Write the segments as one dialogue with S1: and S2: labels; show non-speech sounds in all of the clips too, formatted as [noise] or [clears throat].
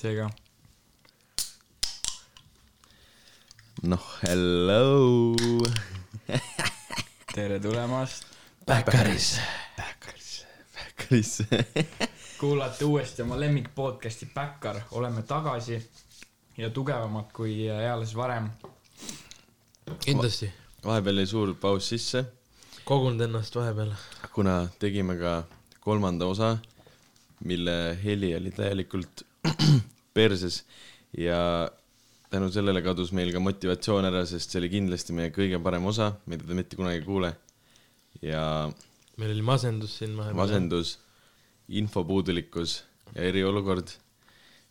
S1: see ka .
S2: noh , hello .
S1: tere tulemast ,
S2: Backeris . Backeris . Backeris .
S1: kuulate uuesti oma lemmik podcast'i Backyard , oleme tagasi ja tugevamad kui eales varem .
S3: kindlasti ,
S2: vahepeal jäi suur paus sisse ,
S3: kogunud ennast vahepeal .
S2: kuna tegime ka kolmanda osa , mille heli oli täielikult [clears throat] perses ja tänu sellele kadus meil ka motivatsioon ära , sest see oli kindlasti meie kõige parem osa , mida te mitte kunagi ei kuule . ja
S3: meil oli masendus siin vahepeal .
S2: masendus , infopuudulikkus ja eriolukord .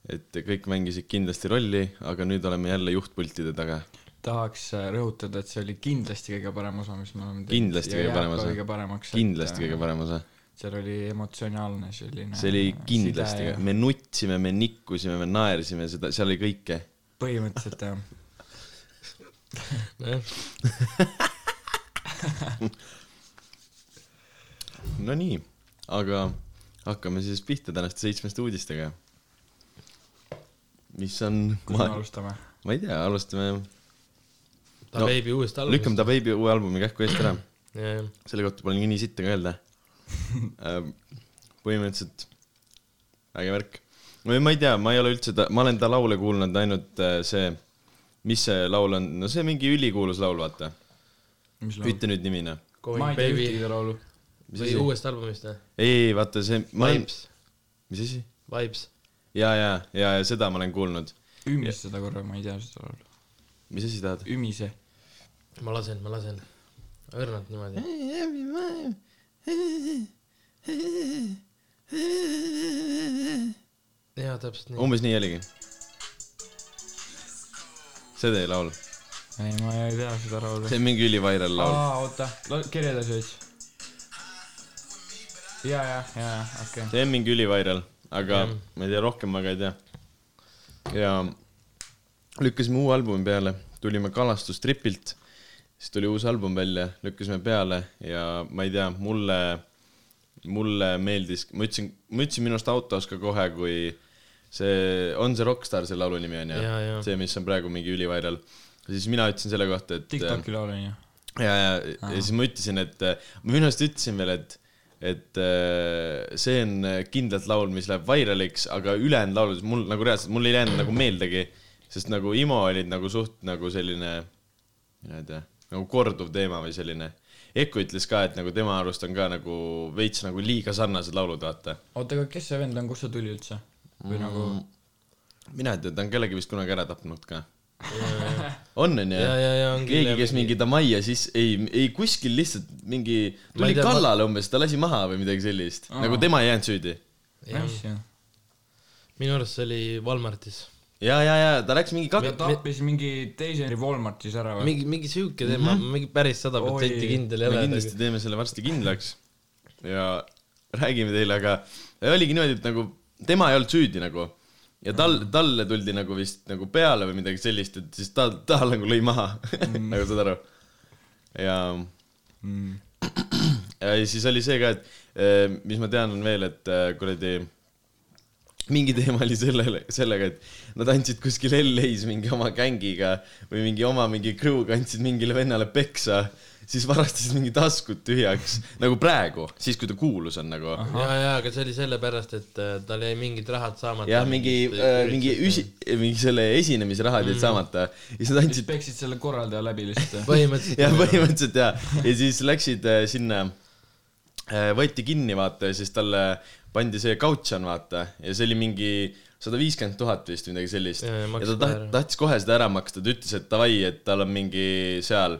S2: et kõik mängisid kindlasti rolli , aga nüüd oleme jälle juhtpultide taga .
S1: tahaks rõhutada , et see oli kindlasti kõige parem osa , mis me oleme teinud .
S2: kindlasti kõige parem osa
S1: kõige paremaks ..
S2: kindlasti kõige parem osa .
S1: seal oli emotsionaalne selline .
S2: see oli kindlasti , me nutsime , me nikkusime , me naersime seda , seal oli kõike .
S1: põhimõtteliselt
S2: [laughs]
S1: jah .
S2: Nonii , aga hakkame siis pihta tänaste seitsmest uudistega . mis on ,
S1: kus me
S2: ma ,
S1: alustame ?
S2: ma ei tea , alustame ,
S3: ta
S2: No,
S3: no, veebi uuest algusest .
S2: lükkame ta Baby uue albumi kähku eest ära
S3: jah ,
S2: selle kohta pole nii sitta ka [laughs] öelda Ähm, põhimõtteliselt äge värk või ma ei tea , ma ei ole üldse ta , ma olen ta laule kuulnud ainult äh, see , mis see laul on , no see mingi ülikuulus laul , vaata ,
S1: mis laul ?
S2: ütle nüüd noh. nimine .
S1: ma
S3: Going
S1: ei tea
S3: Baby
S1: ühtegi laulu .
S2: mis
S3: või
S2: asi?
S3: uuest albumist või ?
S2: ei , ei vaata see , ma ei ,
S3: Vibes ,
S2: mis asi ?
S3: Vibes .
S2: ja , ja , ja , ja seda ma olen kuulnud .
S1: ümise seda korra , ma ei tea seda laulu .
S2: mis asi tahad ?
S1: ümise .
S3: ma lasen , ma lasen . õrnalt niimoodi . jaa , täpselt nii .
S2: umbes nii oligi . see teie laul ,
S1: ei , ma ei tea seda laulu .
S2: see on mingi ülivairal laul .
S1: aa , oota , kirjelda see veits . ja , ja , ja , ja , okei okay. .
S2: see on mingi ülivairal , aga
S3: Jah.
S2: ma ei tea , rohkem ma ka ei tea . ja lükkasime uue albumi peale , tulime kalastustripilt , siis tuli uus album välja , lükkasime peale ja ma ei tea , mulle , mulle meeldis , ma ütlesin , ma ütlesin minu arust autos ka kohe , kui see , on see Rockstar , see laulu nimi on ju
S3: Jaa, jaa. ?
S2: see , mis on praegu mingi ülivairal . siis mina ütlesin selle kohta , et .
S1: Tiktoki laul on ju .
S2: ja , ja , ja siis ma ütlesin , et äh, ma minu arust ütlesin veel , et , et äh, see on äh, kindlalt laul , mis läheb vairaliks , aga ülejäänud laulud , mul nagu reaalselt , mul ei jäänud nagu meeldegi , sest nagu IMO olid nagu suht nagu selline , mina ei tea , nagu korduv teema või selline . Eko ütles ka , et nagu tema arust on ka nagu veits nagu liiga sarnased laulud , vaata .
S1: oota , aga kes see vend on , kust ta tuli üldse ? või mm. nagu ,
S2: mina ei tea , ta on kellegi vist kunagi ära tapnud
S3: [laughs]
S2: ka . on , on ju
S3: jaa , jaa , jaa , on
S2: keegi , kes mingi Damaia siis , ei , ei kuskil lihtsalt mingi ,
S3: Ma
S2: tuli
S3: ei tea,
S2: kallale umbes , ta lasi maha või midagi sellist , nagu tema ei jäänud süüdi .
S1: mis see on ?
S3: minu arust see oli Walmartis .
S2: ja , ja , ja ta läks mingi
S1: ta
S2: kak- ,
S1: tappis mingi teise Walmartis ära või ?
S3: mingi , mingi sihuke teema , mingi päris sada
S1: Oi.
S3: protsenti kindel ei
S2: Mhm. me
S3: ole .
S2: kindlasti teeme selle varsti kindlaks ja räägime teile , aga oligi niimoodi , et nagu tema ei olnud süüdi nagu ja tal ,
S3: Mm.
S2: talle tuldi nagu vist nagu peale või midagi sellist , et siis ta , ta nagu lõi maha , [laughs]
S3: Mm.
S2: nagu saad aru . ja
S1: mm. .
S2: Äh, ja siis oli see ka , et eh, mis ma tean , on veel , et eh, kuradi mingi teema oli sellele , sellega , et nad andsid kuskil LA-s mingi oma gängiga või mingi oma mingi crew'ga andsid mingile vennale peksa , siis varastasid mingi taskud tühjaks , nagu praegu , siis kui ta kuulus on nagu .
S3: jaa , jaa , aga see oli sellepärast , et äh, tal jäi mingid rahad saamata .
S2: jah , mingi , mingi üsi- , mingi selle esinemisrahad jäid saamata ja siis nad andsid
S1: siis peksid selle korraldaja läbi
S2: [laughs]
S1: lihtsalt või ?
S3: põhimõtteliselt
S2: ja põhimõtteliselt ja , ja siis läksid äh, sinna , võeti kinni , vaata , ja siis talle pandi see kautšon , vaata , ja see oli mingi sada viiskümmend tuhat vist või midagi sellist .
S3: Ja, ja
S2: ja
S3: maksis
S2: ta
S3: ära.
S2: taht- , tahtis kohe seda ära maksta , ta ütles , et davai , et tal on mingi seal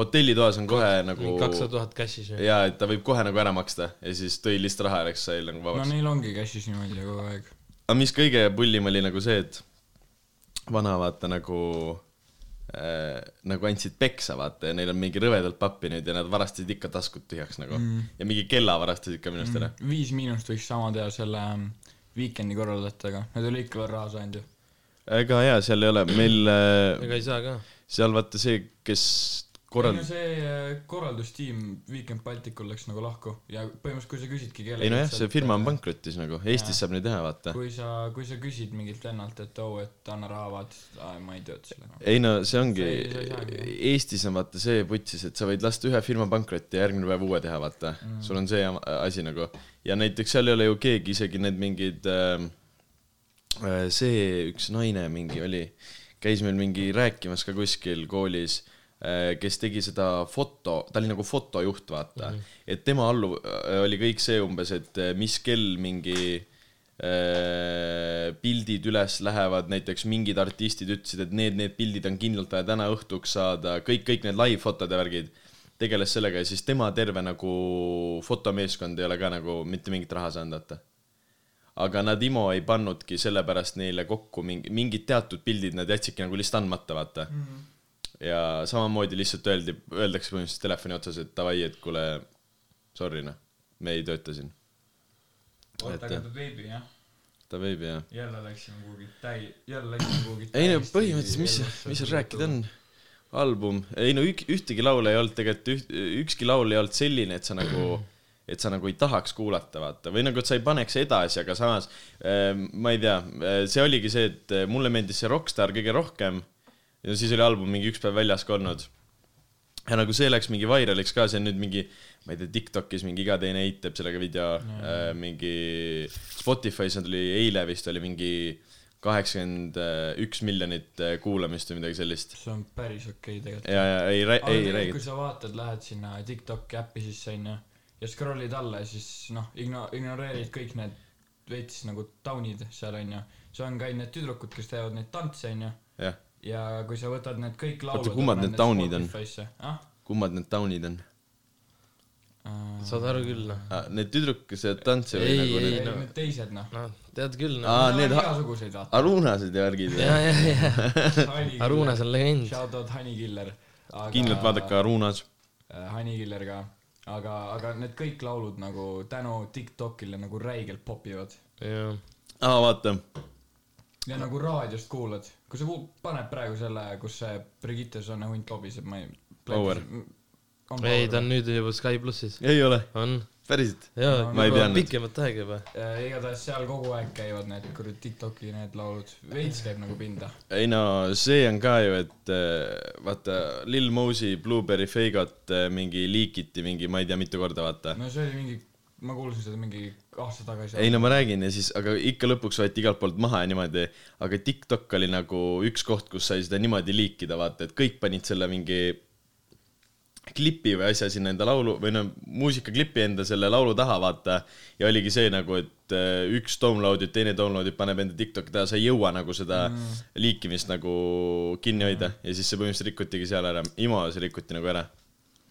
S2: hotellitoas on kohe nagu
S3: mingi kakssada tuhat cash'is või ?
S2: ja et ta võib kohe nagu ära maksta ja siis tõi lihtsalt raha ja läks , sai nagu
S1: no
S2: vabaks .
S1: neil ongi cash'is niimoodi kogu aeg .
S2: aga mis kõige pullim oli nagu see , et vana vaata nagu äh, , nagu andsid peksa , vaata , ja neil on mingi rõvedalt pappi nüüd ja nad varastasid ikka taskud tühjaks nagu mm. . ja mingi kella varastasid ka minu
S1: Mm.
S2: arust ära .
S1: viis miinust võiks sama teha selle ähm, Weekend'i korraldajatega , nad ei ole ikka veel raha saanud ju .
S2: ega jaa , seal ei ole , meil äh,
S3: ega ei saa ka .
S2: seal vaata see , kes
S1: ei no
S2: korraldus .
S1: see äh, korraldustiim Weekend Balticul läks nagu lahku ja põhimõtteliselt , kui sa küsidki
S2: ei nojah , see firma on pankrotis nagu , Eestis saab nii teha , vaata .
S1: kui sa , kui sa küsid mingilt vennalt , et oo oh, , et anna raha , vaata , et ma ei tööta selle enam .
S2: ei no see ongi
S1: Noh. See ei- see ei saagi. ,
S2: Eestis on vaata see putsis , et sa võid lasta ühe firma pankrotti ja järgmine päev uue teha , vaata mm. . sul on see jama- asi nagu ja näiteks seal ei ole ju keegi , isegi need mingid ähm, äh, , see üks naine mingi oli , käis meil mingi rääkimas ka kuskil koolis äh, kes tegi seda foto , ta oli nagu fotojuht , vaata mm . -hmm. et tema allu- , oli kõik see umbes , et äh, mis kell mingi äh, pildid üles lähevad , näiteks mingid artistid ütlesid , et need , need pildid on kindlalt vaja täna õhtuks saada , kõik , kõik need live fotode värgid , tegeles sellega ja siis tema terve nagu fotomeeskond ei ole ka nagu mitte mingit raha saanud , vaata . aga nad IMO ei pannudki sellepärast neile kokku mingi , mingid teatud pildid nad jätsidki nagu lihtsalt andmata , vaata mm . -hmm. ja samamoodi lihtsalt öeldi , öeldakse põhimõtteliselt telefoni otsas , et davai , et kuule , sorry noh , me ei tööta siin . Et-
S1: oota , aga ta veebi jah ,
S2: ta võib ja
S1: jälle läksime kuhugi täi- , jälle läksime kuhugi
S2: ei no põhimõtteliselt , mis , mis seal rääkida on ? album , ei no ük- , ühtegi laulu ei olnud tegelikult üht, , ükski laul ei olnud selline , et sa nagu , [clears throat] et sa nagu ei tahaks kuulata , vaata , või nagu , et sa ei paneks edasi , aga samas äh, ma ei tea , see oligi see , et äh, mulle meeldis see Rockstar kõige rohkem ja siis oli album mingi üks päev väljas ka olnud ja nagu see läks mingi vairaliks ka , see on nüüd mingi , ma ei tea , Tiktokis mingi iga teine eit teeb sellega video no. , äh, mingi Spotify's nad oli eile vist oli mingi kaheksakümmend üks miljonit äh, kuulamist või midagi sellist .
S1: see on päris okei tegelikult .
S2: ja , ja ei , ei
S1: aga tegelikult ,
S2: räägi .
S1: kui sa vaatad , lähed sinna TikToki äppi sisse , onju , ja scroll'id alla ja siis noh , igno- , ignoreerid kõik need veits nagu taunid seal , onju . see on ka ainult need tüdrukud , kes teevad neid tantse , onju .
S2: jah ,
S1: ja kui sa võtad need kõik laulud .
S2: Oota, kummad need taunid on?
S1: ah?
S2: kummad need taunid on ?
S1: äh, ?
S3: saad aru küll , noh .
S2: Need tüdrukesed tantsivad
S3: Ei,
S2: nagu
S1: ei
S2: need
S3: ei, no-
S1: no. , need teised noh .
S3: noh , tead küll , noh .
S2: aa , need ha-
S1: igasuguseid
S2: [laughs]
S1: vaata .
S2: Arunased ja värgid .
S3: ja , ja ,
S2: [laughs]
S3: ja . Arunas
S1: Arunas .
S3: on legend .
S1: Shout out Honey Killer .
S2: kindlalt vaadake . Arunas .
S1: Honey Killer ka . aga , aga need kõik laulud nagu tänu TikTokile nagu räigelt popivad
S3: jah .
S2: aa , Ah, vaata ,
S1: ja nagu raadiost kuulad , kui sa kuul- , paned praegu selle , kus see Brigitte Sonne hunt lobiseb , ma ei .
S2: Power. .
S3: ei , ta on nüüd juba Sky plussis .
S2: ei ole ,
S3: on .
S2: päriselt .
S3: jaa ,
S2: Ma ei
S3: juba
S2: teadnud.
S3: pikemat aega juba .
S1: igatahes seal kogu aeg käivad need kuradi Tiktoki need laulud , veits käib nagu pinda .
S2: ei no see on ka ju , et äh, vaata Lil Mosey Blueberry Feigot äh, mingi liigiti mingi , ma ei tea , mitu korda vaata .
S1: no see oli mingi , ma kuulsin seda mingi aasta tagasi .
S2: ei no ma räägin ja siis , aga ikka lõpuks võeti igalt poolt maha ja niimoodi , aga TikTok oli nagu üks koht , kus sai seda niimoodi liikida , vaata , et kõik panid selle mingi klipi või asja sinna enda laulu või no muusikaklipi enda selle laulu taha , vaata . ja oligi see nagu , et äh, üks download ib , teine download ib , paneb enda TikTok'i taha , sa ei jõua nagu seda mm. liikimist nagu kinni hoida ja siis see põhimõtteliselt rikutigi seal ära , IMO-s rikuti nagu ära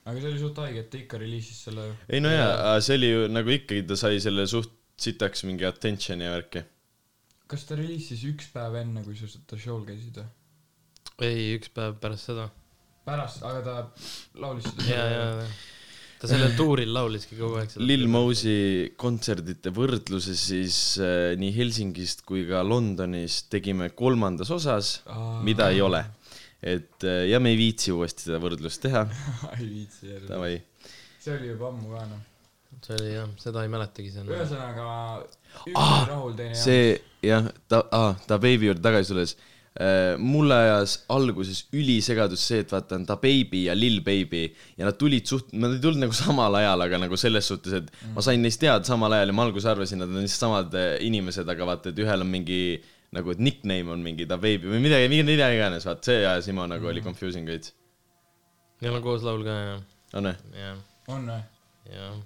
S1: aga see oli suht haige , et ta ikka reliisis selle ju .
S2: ei no jaa , see oli ju nagu ikkagi ta sai selle suht sitaks mingi attention'i ja värki .
S1: kas ta reliisis üks päev enne , kui sa seda show'l käisid või ?
S3: ei , üks päev pärast seda .
S1: pärast , aga ta laulis seda .
S3: ja , ja , ja . ta sellel tuuril lauliski kogu aeg seda .
S2: Lil Mosey kontserdite võrdluses siis äh, nii Helsingist kui ka Londonis tegime kolmandas osas ,
S1: Aa.
S2: mida ei ole . et äh, ja me ei viitsi uuesti seda võrdlust teha ,
S1: [laughs] ei viitsi jälle .
S2: davai .
S1: see oli juba ammu ka noh .
S3: see oli jah , seda ei mäletagi , see on .
S1: ühesõnaga , üks oli rahul , teine ei olnud .
S2: Ah, see jah , ta ah, , ta Baby juurde tagasi tulles äh, mulle ajas alguses ülisegadus see , et vaata on ta Baby ja Lil Baby ja nad tulid suht- , nad ei tulnud nagu samal ajal , aga nagu selles suhtes , et mm. ma sain neist teada samal ajal ja ma alguses arvasin , et nad on lihtsalt samad äh, inimesed , aga vaata , et ühel on mingi nagu , et nickname on mingi ta Baby või midagi , mida iganes , vaat see ajas Imo nagu oli confusing veits .
S3: Neil on koos laul ka , jah .
S2: on või ?
S3: jah ,
S1: on või ?
S3: jah .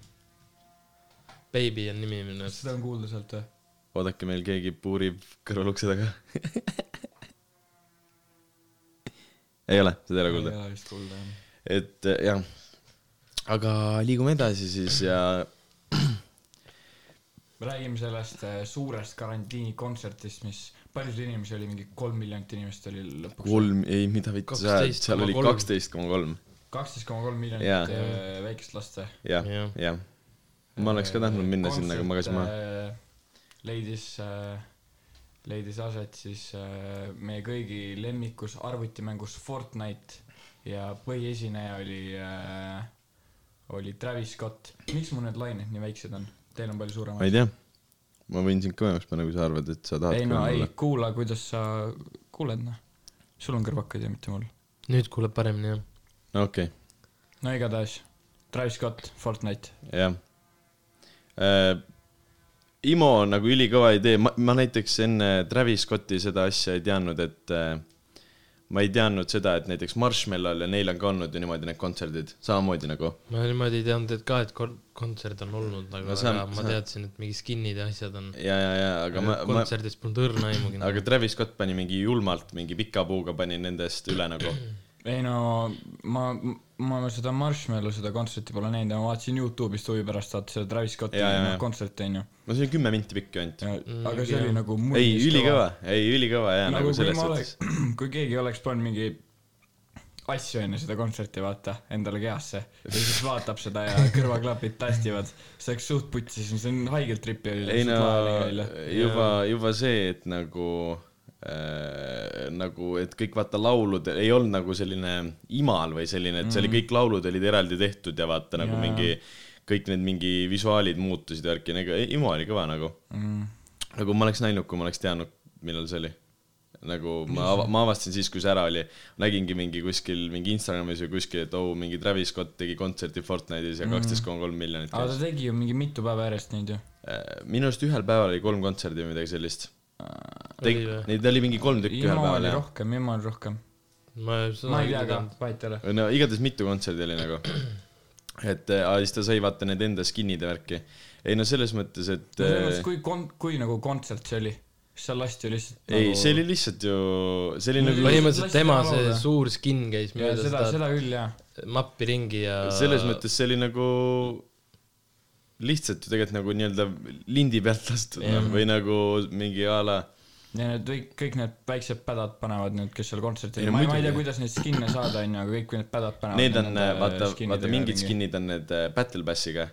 S3: Baby on nimi minu arust .
S1: seda on kuulda sealt või ?
S2: oodake , meil keegi puurib kõrvalukse taga . ei ole , seda ei ole kuulda
S1: ei . ole vist kuulda jah .
S2: et eh, jah , aga liigume edasi siis ja
S1: me räägime sellest äh, suurest karantiinikontsertist , mis paljudel inimesel oli mingi kolm miljonit inimest oli lõpuks .
S2: kolm , ei mida vittu sa ajad , seal oli
S3: 12,3.
S2: kaksteist koma kolm ,
S1: kaksteist koma kolm
S2: Jaa.
S1: miljonit äh, väikest last või ?
S2: jah ,
S3: Jah.
S2: jah . ma oleks ka tahtnud minna sinna , aga magasin maha .
S1: maha . leidis äh, , leidis aset siis äh, meie kõigi lemmikus arvutimängus Fortnite ja põhiesineja oli äh, , oli Travis Scott . miks mul need lained nii väiksed on ? Teil on palju
S2: ma ei
S1: suuremad .
S2: tea . ma võin sind kõvemaks panna , kui sa arvad , et sa tahad
S1: ei no ei
S2: kõvem ,
S1: kuula , kuidas sa kuuled noh . sul on kõrvakad ja mitte mul .
S3: nüüd kuuleb paremini jah .
S2: olla . okei ,
S1: no igatahes , Travis Scott , Fortnite .
S2: jah . Imo on nagu ülikõva idee , ma , ma näiteks enne Travis Scotti seda asja ei teadnud , et äh, ma ei teadnud seda , et näiteks Marshmallal ja neil on ka olnud ju niimoodi need kontserdid , samamoodi nagu .
S3: ma niimoodi ei teadnud , et ka , et kon- kontsert on olnud , aga
S2: No see on-
S3: aga ma
S2: see on-
S3: teadsin , et mingi skin'id ja asjad on .
S2: ja , ja , ja , aga ma , ma ,
S3: kontserdist polnud õrna aimugi .
S2: aga Travis Scott pani mingi julmalt mingi pika puuga pani nendest üle
S1: [clears throat]
S2: nagu .
S1: ei no ma , ma seda Marshmallow seda kontserti pole näinud , ma vaatasin Youtube'ist huvi pärast , vaata seda Travis Scotti
S2: Jaa, jaa, jaa.
S1: kontserti onju .
S2: no see on kümme minti pikk ju ainult .
S1: aga see oli nagu
S2: ei , ülikõva , ei ülikõva ja
S1: nagu
S2: nagu, nagu
S1: kui
S2: selles
S1: ma
S2: suhtes
S1: oleks . , [clears throat] kui keegi oleks pannud mingi asju enne seda kontserti , vaata , endale kehasse ja siis vaatab seda ja kõrvaklapid tastivad , see oleks suht putsis , see on haigelt tripi oli .
S2: ei no juba , juba see , et nagu äh, nagu , et kõik vaata laulud ei olnud nagu selline imal või selline , et see oli , kõik laulud olid eraldi tehtud ja vaata nagu
S1: Mm. Jaa.
S2: ja. mingi , kõik need mingi visuaalid muutusid ja värki , nagu Imo oli kõva nagu .
S1: mm, .
S2: aga kui Nagu ma oleks näinud , kui ma oleks teadnud , millal see oli . nagu ma , ma avastasin siis , kui see ära oli , nägingi mingi kuskil mingi Instagramis või kuskil , et oo , mingi Travis Scott tegi kontserti Fortnite'is ja kaksteist koma kolm miljonit
S1: aga
S2: käis
S1: ta . tegi ju mingi mitu päeva järjest neid ju .
S2: minu arust ühel päeval oli kolm kontserti või midagi sellist .
S3: Oli või?
S2: Neid oli mingi kolm tükki ühel
S1: Imo
S2: päeval
S1: oli
S2: jah .
S1: rohkem , Imo oli rohkem .
S3: ma seda
S1: ma ei tea ka , vahet ei ole .
S2: no igatahes mitu kontserti oli nagu . et äh, aa, siis ta sai vaata need enda skin'ide värki . ei no selles mõttes , et
S1: selles
S2: äh,
S1: mõttes , kui kon- , kui nagu kontsert see oli , siis seal lasti ju lihtsalt
S2: ei ,
S1: nagu...
S2: see oli lihtsalt ju , see oli nagu
S3: põhimõtteliselt
S1: Lasti
S3: tema
S1: ära
S3: see
S1: laulda.
S3: suur skin käis
S1: ja
S3: mööda
S1: seda ,
S3: seda
S1: seda küll jah .
S3: mappi ringi ja
S2: selles mõttes see oli nagu lihtsalt ju tegelikult nagu nii-öelda lindi pealt lastud yeah. või nagu mingi a la
S1: ja need kõik , kõik need väiksed pädad panevad nüüd , kes seal kontserdil
S2: Ei no
S1: ma ei , ma ei tea ,
S2: muidugi.
S1: kuidas neid skin'e saada , onju , aga kõik need pädad panevad
S2: need on eh,
S1: nende
S2: vaata ,
S1: skin'idega
S2: vaata mingid
S1: ringi.
S2: skin'id on need äh, battle pass'iga ,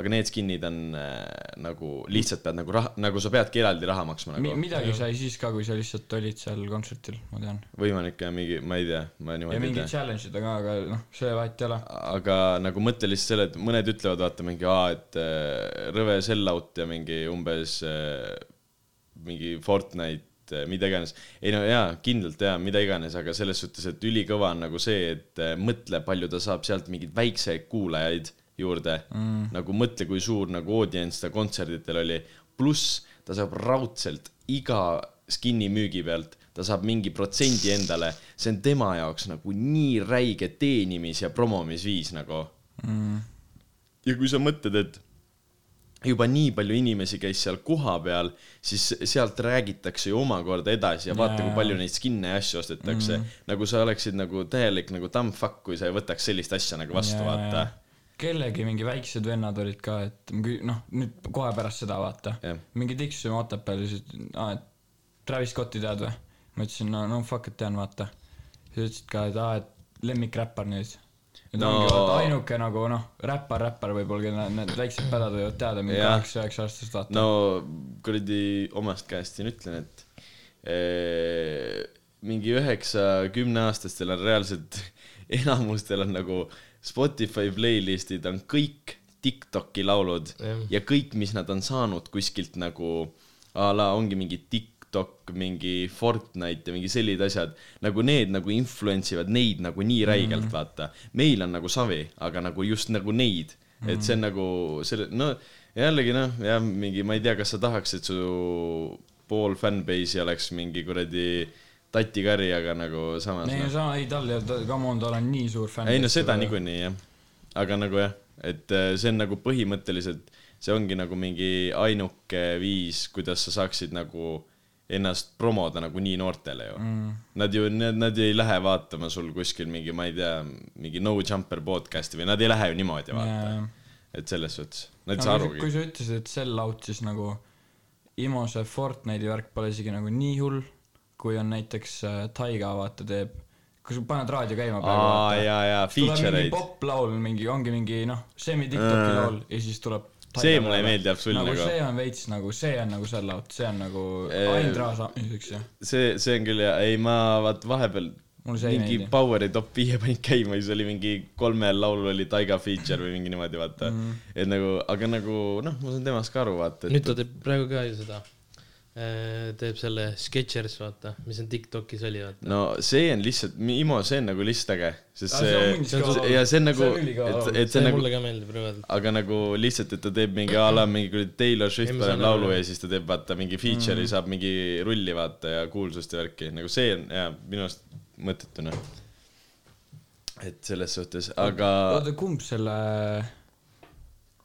S2: aga need skin'id on äh, nagu lihtsalt pead nagu raha , nagu sa peadki eraldi raha maksma
S1: Mi-
S2: nagu .
S1: midagi sai siis ka , kui sa lihtsalt olid seal kontsertil , ma tean .
S2: võimalik ja mingi , ma ei tea , ma
S1: ja
S2: niimoodi ei
S1: mingid
S2: tea .
S1: challenge'id on ka , aga noh , see vahet ei ole .
S2: aga nagu mõtle lihtsalt selle , et mõned ütlevad , vaata mingi aa , et äh, rõve sell out ja mingi umbes äh, mingi Fortnite , mida iganes . ei no jaa , kindlalt jaa , mida iganes , aga selles suhtes , et ülikõva on nagu see , et äh, mõtle , palju ta saab sealt mingeid väikseid kuulajaid juurde mm. . nagu mõtle , kui suur nagu audience ta kontserditel oli . pluss ta saab raudselt iga skin'i müügi pealt , ta saab mingi protsendi endale . see on tema jaoks nagu nii räige teenimis- ja promomisviis nagu
S1: Mm.
S2: ja kui sa mõtled , et juba nii palju inimesi käis seal kohapeal , siis sealt räägitakse ju omakorda edasi ja vaata , kui
S1: Jaa.
S2: palju neid skin'e ja asju ostetakse mm . -hmm. nagu sa oleksid nagu täielik nagu dumb fuck , kui sa ei võtaks sellist asja nagu vastu , vaata .
S1: kellegi mingi väiksed vennad olid ka , et mingi- noh , nüüd kohe pärast seda vaata
S2: Jah. .
S1: mingi tiksusime Otepääl ja siis , aa , et Travis Scotti tead või ? ma ütlesin , no , no fuck , et tean , vaata . siis ütlesid ka , et aa , et lemmikräppar nüüd . ja ta
S2: No.
S1: no. ongi vaata ainuke nagu noh , räppar , räppar võib-olla , keda need väiksed pädad võivad teada , mingi
S2: Jah.
S1: kaheksa-üheksa aastased vaata .
S2: no kuradi omast käest siin ütlen , et eh, mingi üheksa-kümneaastastel on reaalselt , [laughs] enamustel on nagu Spotify playlist'id on kõik Tiktoki laulud
S3: Jah.
S2: ja kõik , mis nad on saanud kuskilt nagu a la ongi mingi TikTok , mingi Fortnite ja mingi sellised asjad , nagu need nagu influence ivad neid nagu nii räigelt mm. , vaata . meil on nagu savi , aga nagu just nagu neid , et see on nagu selle , no jällegi noh , jah , mingi , ma ei tea , kas sa tahaks , et su pool fanbase'i oleks mingi kuradi tatikari , aga nagu samas
S1: ei no
S2: noh.
S1: sama , ei tal ei olnud , come on , tal on nii suur fänn . äh,
S2: ei no seda . niikuinii jah , aga nagu jah , et äh, see on nagu põhimõtteliselt , see ongi nagu mingi ainuke viis , kuidas sa saaksid nagu ennast promoda nagu nii noortele ju mm. . Nad ju , nad ei lähe vaatama sul kuskil mingi , ma ei tea , mingi no jumper podcast'i või nad ei lähe ju niimoodi vaata
S1: Jaa.
S2: yeah. . et selles suhtes , nad ei saa
S1: Aga kui
S2: arugi .
S1: sa ütlesid , et sell out , siis nagu Imo see Fortnite'i värk pole isegi nagu nii hull , kui on näiteks äh, Taiga , vaata , teeb , kui sa paned raadio käima praegu ,
S2: aa
S1: vaata .
S2: ja , ja
S1: tuleb
S2: feature
S1: mingi
S2: eid ,
S1: poplaul , mingi , ongi mingi noh , semi-tiktoki
S2: Äh.
S1: laul ja siis tuleb
S2: See mulle ei meeldi absoluutselt
S1: nagu .
S2: nagu.
S1: see on veits nagu , see on nagu sell out , see on nagu
S2: Eh,
S1: ainult raha saamiseks , jah .
S2: see , see on küll ja , ei ma vaat vahepeal
S1: mulle see ei
S2: mingi
S1: meeldi .
S2: Poweri top viie [laughs] panid käima ja siis oli mingi kolmel laulul oli Taiga feature või mingi niimoodi , vaata mm. .
S1: Mhm.
S2: et nagu , aga nagu noh , ma saan temast ka aru , vaata , et
S3: nüüd ta teeb praegu ka ju seda , teeb selle Sketchers , vaata , mis on Tiktokis oli , vaata .
S2: no see on lihtsalt , Imo , see on nagu lihtsalt äge , sest
S1: Aga
S2: see,
S1: see on mundis
S2: see,
S1: kõva
S2: see
S1: laul.
S2: ja see on
S1: See
S2: nagu
S1: on , ülikõva
S2: et ,
S1: laul.
S2: et see
S3: see
S2: on nagu
S3: mulle ka meeldib praegu .
S2: aga nagu lihtsalt , et ta teeb mingi a la mingi kuradi Taylor Swift
S3: Ei, ma saan
S2: paneb laulu
S3: aru, Mhm.
S2: ja siis ta teeb vaata mingi feature'i mm. , saab mingi rulli vaata ja kuulsust ja värki , nagu see on jaa , minu arust mõttetuna . et selles suhtes , aga
S1: oota , kumb selle ,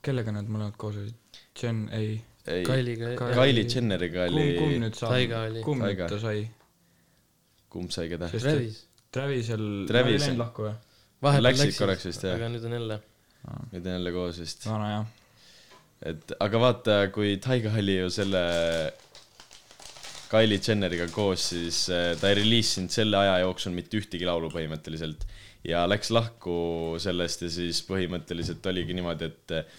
S1: kellega nad mõlemad koos olid ? Jen , ei .
S2: ei,
S3: Kailiga ,
S2: Kylie Jenneriga
S1: kumb , kumb
S2: oli ,
S1: nüüd sai
S3: Taiga oli. ,
S1: kumb nüüd
S2: Taiga.
S1: ta sai ?
S2: kumb sai keda ?
S1: Sest-
S3: Travis .
S1: Travisel , nad ei
S2: Travis-
S1: läinud lahku või ?
S2: Läksid korraks vist, jah.
S3: aga nüüd on jälle .
S2: ma tean jälle koos vist ,
S1: vana jah .
S2: et aga vaata , kui Taiga oli ju selle Kylie Jenneriga koos , siis äh, ta ei reliisinud selle aja jooksul mitte ühtegi laulu põhimõtteliselt ja läks lahku sellest ja siis põhimõtteliselt oligi niimoodi , et äh,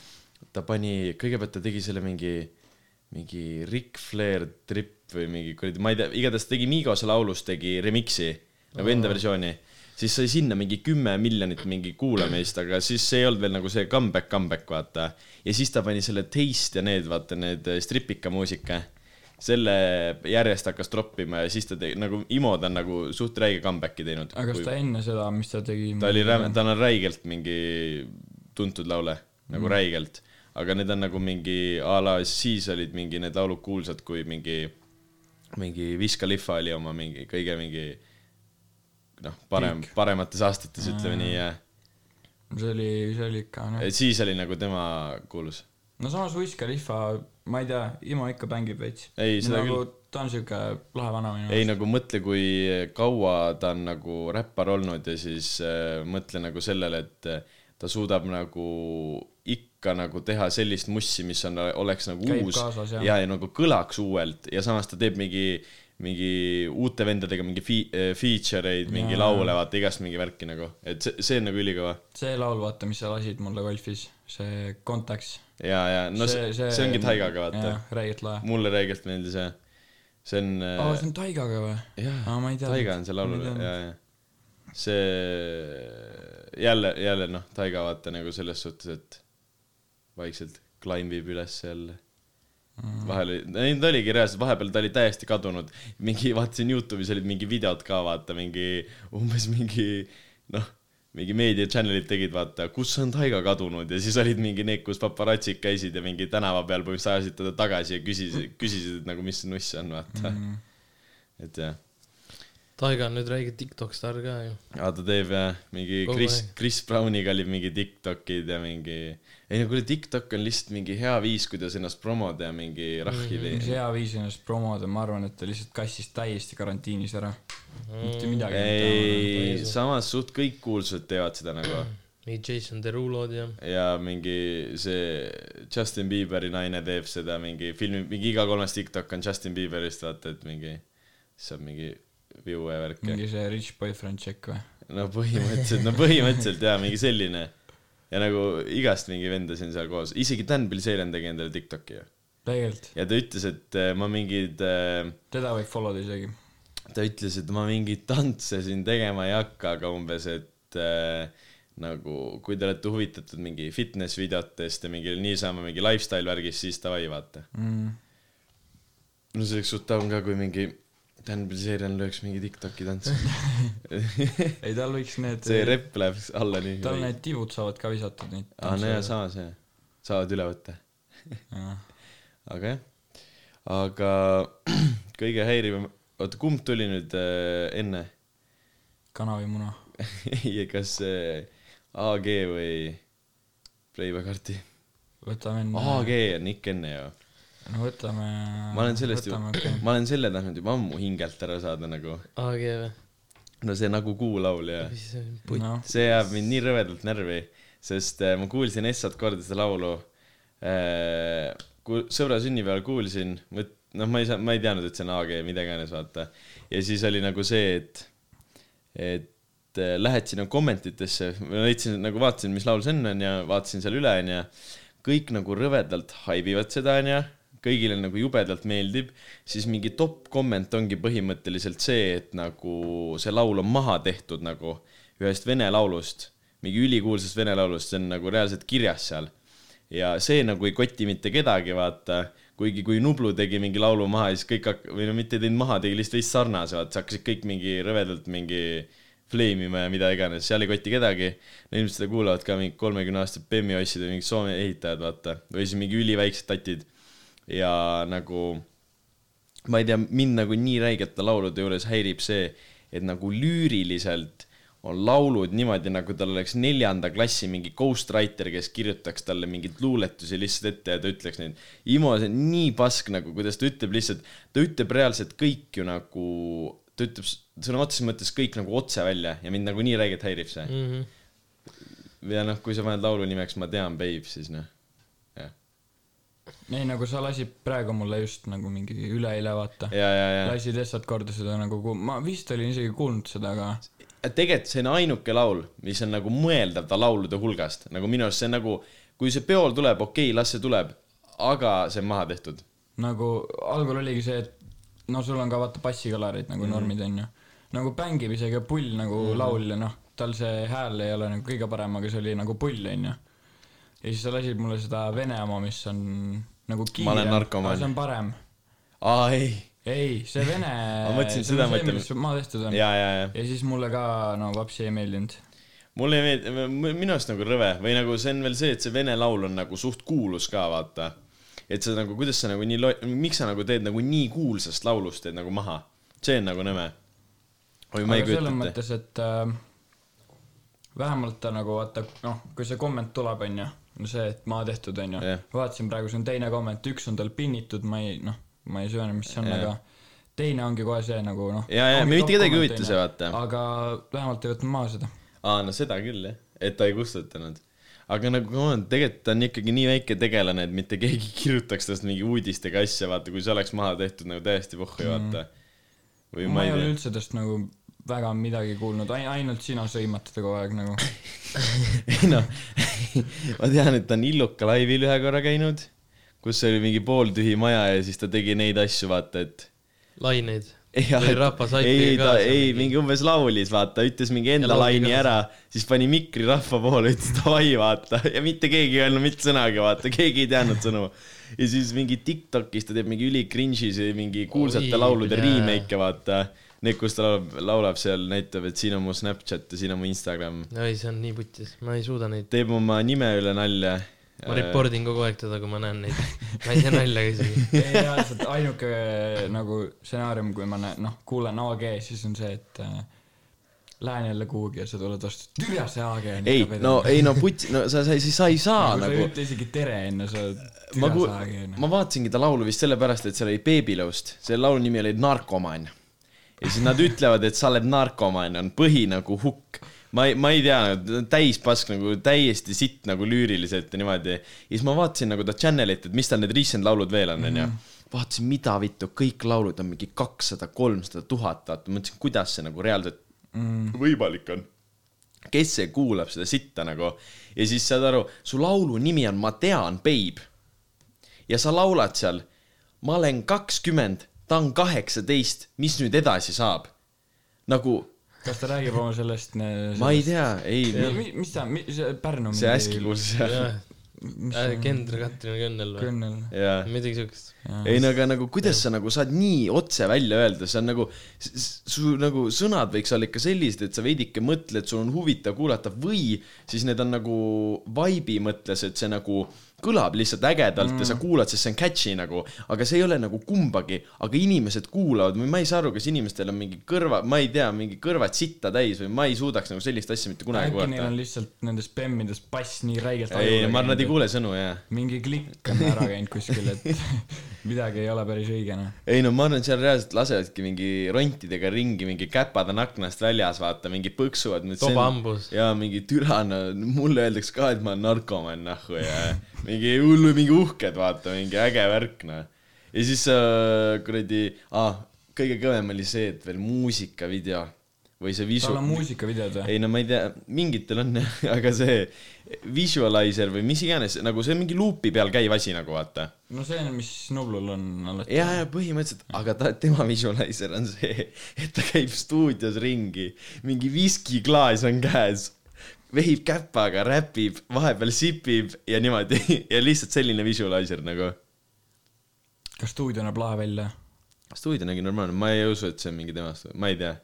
S2: ta pani , kõigepealt ta tegi selle mingi , mingi Ric Flair trip või mingi kuradi , ma ei tea , igatahes ta tegi Migose laulust tegi remix'i nagu enda versiooni , siis sai sinna mingi kümme miljonit mingi kuulamist , aga siis see ei olnud veel nagu see comeback , comeback vaata . ja siis ta pani selle Taste ja need vaata need äh, stripika muusika , selle järjest hakkas troppima ja siis ta tegi nagu Imo ta on nagu suht räige comeback'i teinud .
S1: aga kas ta enne seda , mis ta tegi ?
S2: ta oli räme , tal on räigelt mingi tuntud laule , nagu mm. räigelt . aga need on nagu mingi a la siis olid mingi need laulud kuulsad , kui mingi , mingi Wiz Khalifa oli oma mingi kõige mingi noh , parem , paremates aastates , ütleme nii , jah .
S1: see oli , see oli ikka noh .
S2: et siis oli nagu tema kuulus .
S1: no samas Wiz Khalifa , ma ei tea , Imo ikka bängib veits .
S2: Ei, seda
S1: küll . ta on siuke lahe vana minu
S2: ei nagu mõtle , kui kaua ta on nagu räppar olnud ja siis äh, mõtle nagu sellele , et äh, ta suudab nagu ikka nagu teha sellist mussi , mis on , oleks nagu
S1: Käib
S2: uus
S1: kaasas, jah.
S2: ja , ja nagu kõlaks uuelt ja samas ta teeb mingi , mingi uute vendadega mingi fi- , feature eid , mingi laule , vaata igast mingi värki nagu , et see , see on nagu ülikõva .
S1: see laul , vaata , mis sa lasid mulle golfis , see Contacts .
S2: ja , ja no see, see, see ongi Taigaga , vaata .
S1: räigelt lahe .
S2: mulle räigelt meeldis ja see on äh,
S1: aa , see on Taigaga või ? aa , ma
S2: jaa
S1: ei , teadnud.
S2: Taiga on see laul
S1: Ma ei , teadnud.
S2: jaa , jaa . see jälle , jälle noh , Taiga vaata nagu selles suhtes , et vaikselt climb ib üles jälle .
S1: Mm.
S2: vahel oli , ei ta oligi reaalselt , vahepeal ta oli täiesti kadunud , mingi vaatasin Youtube'is olid mingi videod ka vaata mingi umbes mingi noh , mingi meedia channel'id tegid vaata , kus on Taiga kadunud ja siis olid mingi need , kus paparatsid käisid ja mingi tänava peal põhimõtteliselt ajasid teda tagasi ja küsisid , küsisid , et nagu mis see nuss on vaata mm. . et jah
S3: Taiga on nüüd räige Tiktok staar ka ju .
S2: aa , ta teeb jah , mingi
S3: Kogu
S2: Chris
S3: aeg. ,
S2: Chris Browniga oli mingi Tiktokid ja mingi , ei no kuule , Tiktok on lihtsalt mingi hea viis , kuidas ennast promoda ja mingi rahvi
S1: mis
S2: teha .
S1: hea viis ennast promoda , ma arvan , et ta lihtsalt kassis täiesti karantiinis ära . mitte midagi .
S2: ei , samas suht kõik kuulsad teevad seda nagu
S3: mingi Jason Derulo'd ja .
S2: ja mingi see Justin Bieberi naine teeb seda mingi filmi , mingi iga kolmas Tiktok on Justin Bieberist , vaata et mingi , saab mingi viue värki .
S1: mingi see Rich Boyfriend Check või ?
S2: no põhimõtteliselt , no põhimõtteliselt jaa , mingi selline . ja nagu igast mingi venda siin seal koos , isegi Dan Bilzerian tegi endale Tiktoki ju .
S1: tegelikult ,
S2: ja ta ütles , et äh, ma mingid , ta
S1: teda võib follow da isegi .
S2: ütles , et ma mingeid tantse siin tegema ei hakka , aga umbes , et äh, nagu kui te olete huvitatud mingi fitness videotest ja mingi niisama mingi lifestyle värgist , siis davai , vaata . no see oleks suht taun ka , kui mingi Dan Bilzerian lööks mingi Tiktoki [laughs] tantsu .
S1: ei , tal võiks need ,
S2: see rep läheb alla nii .
S1: tal need tibud saavad ka visatud neid .
S2: aa , Ah, no jaa , samas jah , saavad üle võtta , aga jah , aga [clears throat] kõige häirivam , oota , kumb tuli nüüd äh, enne [laughs]
S1: kana või muna ?
S2: ei , kas äh, AG või Playback Arti ?
S1: võtame enne ,
S2: AG on ikka enne ju ,
S1: no võtame .
S2: ma olen sellest ju , ma olen selle tahtnud juba ammu hingelt ära saada nagu ,
S3: AG või ?
S2: no see Nagu kuu laul ja
S3: mis see on , putt ?
S1: noh ,
S2: see jääb mind nii rõvedalt närvi , sest äh, ma kuulsin Essat korda seda laulu . kui sõbra sünnipäeval kuulsin , noh , ma ei saa , ma ei teadnud , et see on AG , mida iganes , vaata . ja siis oli nagu see , et , et äh, lähed sinna kommentitesse , ma leidsin nagu vaatasin , mis laul see on , onju , vaatasin seal üle , onju . kõik nagu rõvedalt haibivad seda , onju kõigile nagu jubedalt meeldib , siis mingi top komment ongi põhimõtteliselt see , et nagu see laul on maha tehtud nagu ühest vene laulust , mingi ülikuulsast vene laulust , see on nagu reaalselt kirjas seal . ja see nagu ei koti mitte kedagi , vaata , kuigi kui Nublu tegi mingi laulu maha , siis kõik hak- , või no mitte ei teinud maha , tegi lihtsalt veits sarnase , vaata , hakkasid kõik mingi rõvedalt mingi fleimima ja mida iganes , seal ei koti kedagi . ilmselt seda kuulavad ka mingid kolmekümneaastased Bemmi ossid või mingid Soome ehitajad , vaata , või siis mingi üliväiksed tatid . ja nagu ma ei tea , mind nagu nii räigete laulude juures häirib see , et nagu lüüriliselt on laulud niimoodi , nagu tal oleks neljanda klassi mingi ghostwriter , kes kirjutaks talle mingeid luuletusi lihtsalt ette ja ta ütleks neid . Imo , see on nii pask nagu , kuidas ta ütleb lihtsalt , ta ütleb reaalselt kõik ju nagu , ta ütleb s- sõna otseses mõttes kõik nagu otse välja ja mind nagu nii räigelt häirib see .
S3: mm . -hmm.
S2: ja noh , kui sa paned laulu nimeks Ma tean , babe , siis noh , jah .
S1: ei , nagu sa lasid praegu mulle just nagu mingi üleeile vaata .
S2: ja , ja , ja .
S1: lasid lihtsalt korda seda nagu , ma vist olin isegi kuulnud seda , aga
S2: tegelikult see on ainuke laul , mis on nagu mõeldav ta laulude hulgast , nagu minu arust see on nagu , kui see peol tuleb , okei okay, , las see tuleb , aga see on maha tehtud .
S1: nagu algul oligi see , et no sul on ka vaata bassikõlarid
S2: Mhm.
S1: nagu mm. normid onju . nagu bängib isegi pull nagu mm. laulja , noh , tal see hääl ei ole nagu kõige parem , aga see oli nagu pull onju . ja siis sa lasid mulle seda Vene oma , mis on nagu
S2: Ma olen
S1: kiirem ,
S2: narkomaan.
S1: see on parem .
S2: aa ei ,
S1: ei , see Vene
S2: [laughs] Ma mõtlesin, seda mõtled.
S1: maha tehtud on .
S2: ja , ja , ja
S1: ja siis mulle ka no vapsi ei meeldinud .
S2: mulle ei meeldi , minu arust nagu rõve või nagu see on veel see , et see vene laul on nagu suht kuulus ka , vaata . et sa nagu , kuidas sa nagu nii lo- , miks sa nagu teed nagu nii kuulsast laulust teed nagu maha , see on nagu nõme . oi , ma
S1: aga
S2: ei
S1: selles
S2: kujuta ette .
S1: mõttes , et äh, vähemalt ta nagu vaata , noh , kui see komment tuleb , onju , no see , et maa tehtud , onju
S2: Jah. .
S1: vaatasin praegu , see on teine komment , üks on tal pinnitud , ma ei , noh , ma ei söönud , mis see on ,
S2: Jah.
S1: aga teine ongi kohe see nagu noh .
S2: Jaa, jaa, mitte kedagi ei huvita see, vaata.
S1: aga vähemalt ei võtnud maha seda .
S2: aa , no seda küll jah , et ta ei kustutanud . aga nagu come on , tegelikult ta on ikkagi nii väike tegelane , et mitte keegi ei kirjutaks tast mingi uudistega asja , vaata , kui see oleks maha tehtud nagu täiesti vohhu , vaata . või
S1: ma ei ole
S2: tea .
S1: üldse tast nagu väga midagi kuulnud , ainult sina sõimad teda kogu aeg nagu .
S2: [laughs] ei noh , ma tean , et ta on Illuka laivil ühe korra käinud , kus oli mingi pooltühi maja ja siis ta tegi neid asju , vaata , et
S3: laineid .
S2: jah ,
S3: Tuli rahvasaipiga
S2: ei , ta
S3: kaasa
S2: ei ,
S3: mingi.
S2: mingi umbes laulis , vaata , ütles mingi enda
S3: Ja lauli
S2: laini
S3: kaasa.
S2: ära , siis pani mikri rahva poole , ütles davai , vaata ja mitte keegi ei öelnud mitte sõnagi , vaata , keegi ei teadnud sõnu . ja siis mingi Tiktokis ta teeb mingi üli cringe'i see mingi kuulsate
S3: Oi,
S2: laulude
S3: jaa.
S2: remake'e , vaata . Need , kus ta laulab , laulab seal , näitab , et siin on mu Snapchat ja siin on mu Instagram .
S3: oi , see on nii putis , ma ei suuda neid ,
S2: teeb oma nime üle nalja .
S3: ma
S2: Äh.
S3: report in kogu aeg teda , kui ma näen neid . ma ei tee nalja ka isegi .
S1: ei , reaalselt ainuke nagu stsenaarium , kui ma näen , noh , kuulen AG , siis on see , et äh, lähen jälle kuhugi ja sa tuled vastu , türa see AG on
S2: ei , no ei no putsi , no sa , sa ei , sa ei saa
S1: nagu . sa ei
S2: nagu
S1: ütle isegi tere enne , sa oled
S2: ma
S1: türa
S2: ku-
S1: see AG , on ju .
S2: ma vaatasingi ta laulu vist sellepärast , et seal oli Babylost , selle laulu nimi oli Narkomaan . ja siis nad ütlevad , et sa oled narkomaan , on põhi nagu hukk . ma ei , ma ei tea , täis pask nagu täiesti sitt nagu lüüriliselt ja niimoodi . ja siis ma vaatasin nagu ta channel'it , et mis tal need recent laulud veel on , onju . vaatasin , mida vittu , kõik laulud on mingi kakssada , kolmsada tuhat , vaata , mõtlesin , kuidas see nagu reaalselt võimalik on kes see kuulab seda sitta nagu ja siis saad aru , su laulu nimi on Ma tean , babe . ja sa laulad seal , ma olen kakskümmend , ta on kaheksateist , mis nüüd edasi saab ? nagu ,
S1: kas ta räägib oma sellest ,
S2: ma ei tea , ei ,
S1: mis ta , see Pärnu
S2: see äsja kuulsis jah ,
S3: jah , Kendra Katrin Kõnnel või ?
S1: kõnnel .
S2: jaa .
S3: midagi siukest .
S2: ei no aga nagu kuidas sa nagu saad nii otse välja öelda , see on nagu , su nagu sõnad võiks olla ikka sellised , et sa veidike mõtled , sul on huvitav kuulata või siis need on nagu vaibi mõttes , et see nagu kõlab lihtsalt ägedalt mm. ja sa kuulad , sest see on catchy nagu , aga see ei ole nagu kumbagi , aga inimesed kuulavad või ma ei saa aru , kas inimestel on mingi kõrva , ma ei tea , mingi kõrvad sitta täis või ma ei suudaks nagu sellist asja mitte kunagi
S1: äkki neil
S2: kuulata
S1: on . lihtsalt nendes bemmides bass nii räigelt
S2: ei , ma arvan , nad ei . kuule sõnu , jaa
S1: mingi klikk on ära käinud kuskil , et [laughs] midagi ei ole päris õige , noh .
S2: ei no ma arvan , seal reaalselt lasevadki mingi rontidega ringi , mingi käpad on aknast väljas , vaata , mingi põksuvad .
S3: Toba hambus.
S2: ja mingi türana , mulle öeldakse ka , et ma olen narkomaan nahhu ja mingi hullu , mingi uhked , vaata , mingi äge värk , noh . ja siis äh, kuradi ah, , kõige kõvem oli see , et veel muusikavideo . või see
S1: tal
S2: visu-
S1: on , muusikavideod või ?
S2: ei no ma ei tea , mingitel on , [laughs] aga see visualizer või mis iganes , nagu see on mingi luupi peal käiv asi nagu vaata .
S1: no see on , mis Nublul on alati .
S2: ja , ja põhimõtteliselt , aga ta , tema visualizer on see , et ta käib stuudios ringi , mingi viskiklaas on käes , vehib käpaga , räpib , vahepeal sipib ja niimoodi ja lihtsalt selline visualizer nagu .
S1: kas stuudio näeb lahe välja ?
S2: stuudio nägi normaalne , ma ei usu , et see on mingi tema stuudio , ma ei tea .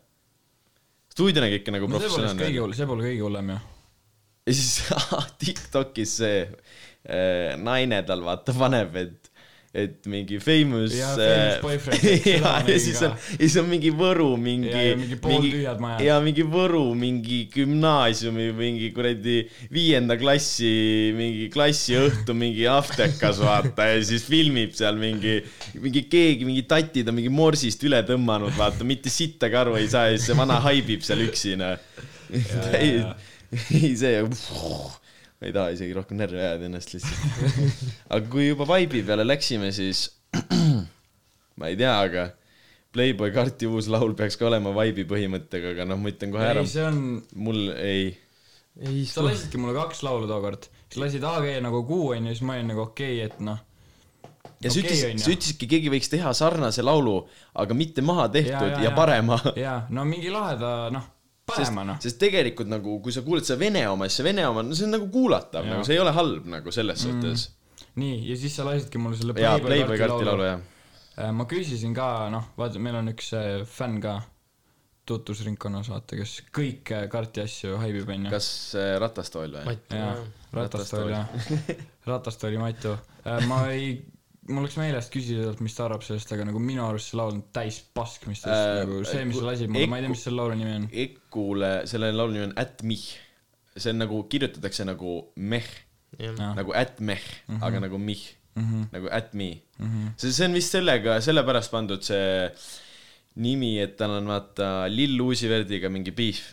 S2: stuudio nägi ikka nagu
S1: no see pole vist
S2: professionaalne
S1: kõige . hullem , see pole kõige hullem ju .
S2: ja siis ah, Tiktokis see äh, naine tal vaata paneb , et , et mingi famous .
S1: Jaa, famous boyfriend,
S2: [laughs]
S1: seda
S2: ja
S1: ma ,
S2: ja
S1: nägin
S2: siis
S1: ka.
S2: on , [laughs] ja siis on mingi Võru mingi .
S1: Ja- ja mingi pooltühjad majad.
S2: ja mingi Võru mingi gümnaasiumi mingi kuradi viienda klassi mingi klassiõhtu mingi aftekas vaata ja siis filmib seal mingi , mingi keegi , mingi tatid on mingi morsist üle tõmmanud , vaata mitte sittagi aru ei saa ja siis see vana haibib seal üksina . ei , ei see , ma ei taha isegi rohkem närvi ajada ennast lihtsalt . aga kui juba vaibi peale läksime , siis ma ei tea , aga Playboy karti uus laul peaks ka olema vaibi põhimõttega , aga noh , ma ütlen kohe ära
S1: ei ,, see on ,
S2: mul ei ,
S3: ei
S1: sa
S3: istu .
S1: lasidki mulle kaks laulu tookord , siis lasid AG nagu kuu onju , siis ma olin nagu okei okay, , et noh .
S2: ja sa ütlesid , sa ütlesidki , keegi võiks teha sarnase laulu , aga mitte maha tehtud ja, ja, ja parema .
S1: jaa , no mingi laheda , noh ,
S2: sest
S1: parema , noh .
S2: sest tegelikult nagu , kui sa kuuled seda vene oma , siis see vene oma , no see on nagu kuulatav , nagu see ei ole halb nagu selles mm. suhtes .
S1: nii , ja siis sa lasidki mulle selle
S2: jaa , Playboy karti laulu , jah .
S1: Äh, ma küsisin ka , noh , vaata , meil on üks äh, fänn ka tutvusringkonnas , vaata , kes kõike karti asju haibib , onju .
S2: kas äh, Ratastool või ?
S3: Mati ,
S1: jaa , ratastool ,
S2: [laughs]
S1: jah . ratastooli Matu . ma ei , mul läks meelest küsida talt , mis ta arvab sellest , aga nagu minu arust see laul on täis pask , mis ta
S2: Äh,
S1: äh, nagu , see , mis
S2: ku-
S1: ta lasi mulle , ma ei
S2: Eku-
S1: tea , mis selle laulu nimi on .
S2: Ekule , selle laulu nimi on At Mih . see on nagu , kirjutatakse nagu meh
S3: jah .
S2: nagu at meh mm , -hmm. aga
S1: Mhm.
S2: nagu mih mm , -hmm. nagu at me mm . -hmm. see , see on vist sellega , sellepärast pandud see nimi , et tal on vaata Lill Uusiverdiga mingi beef .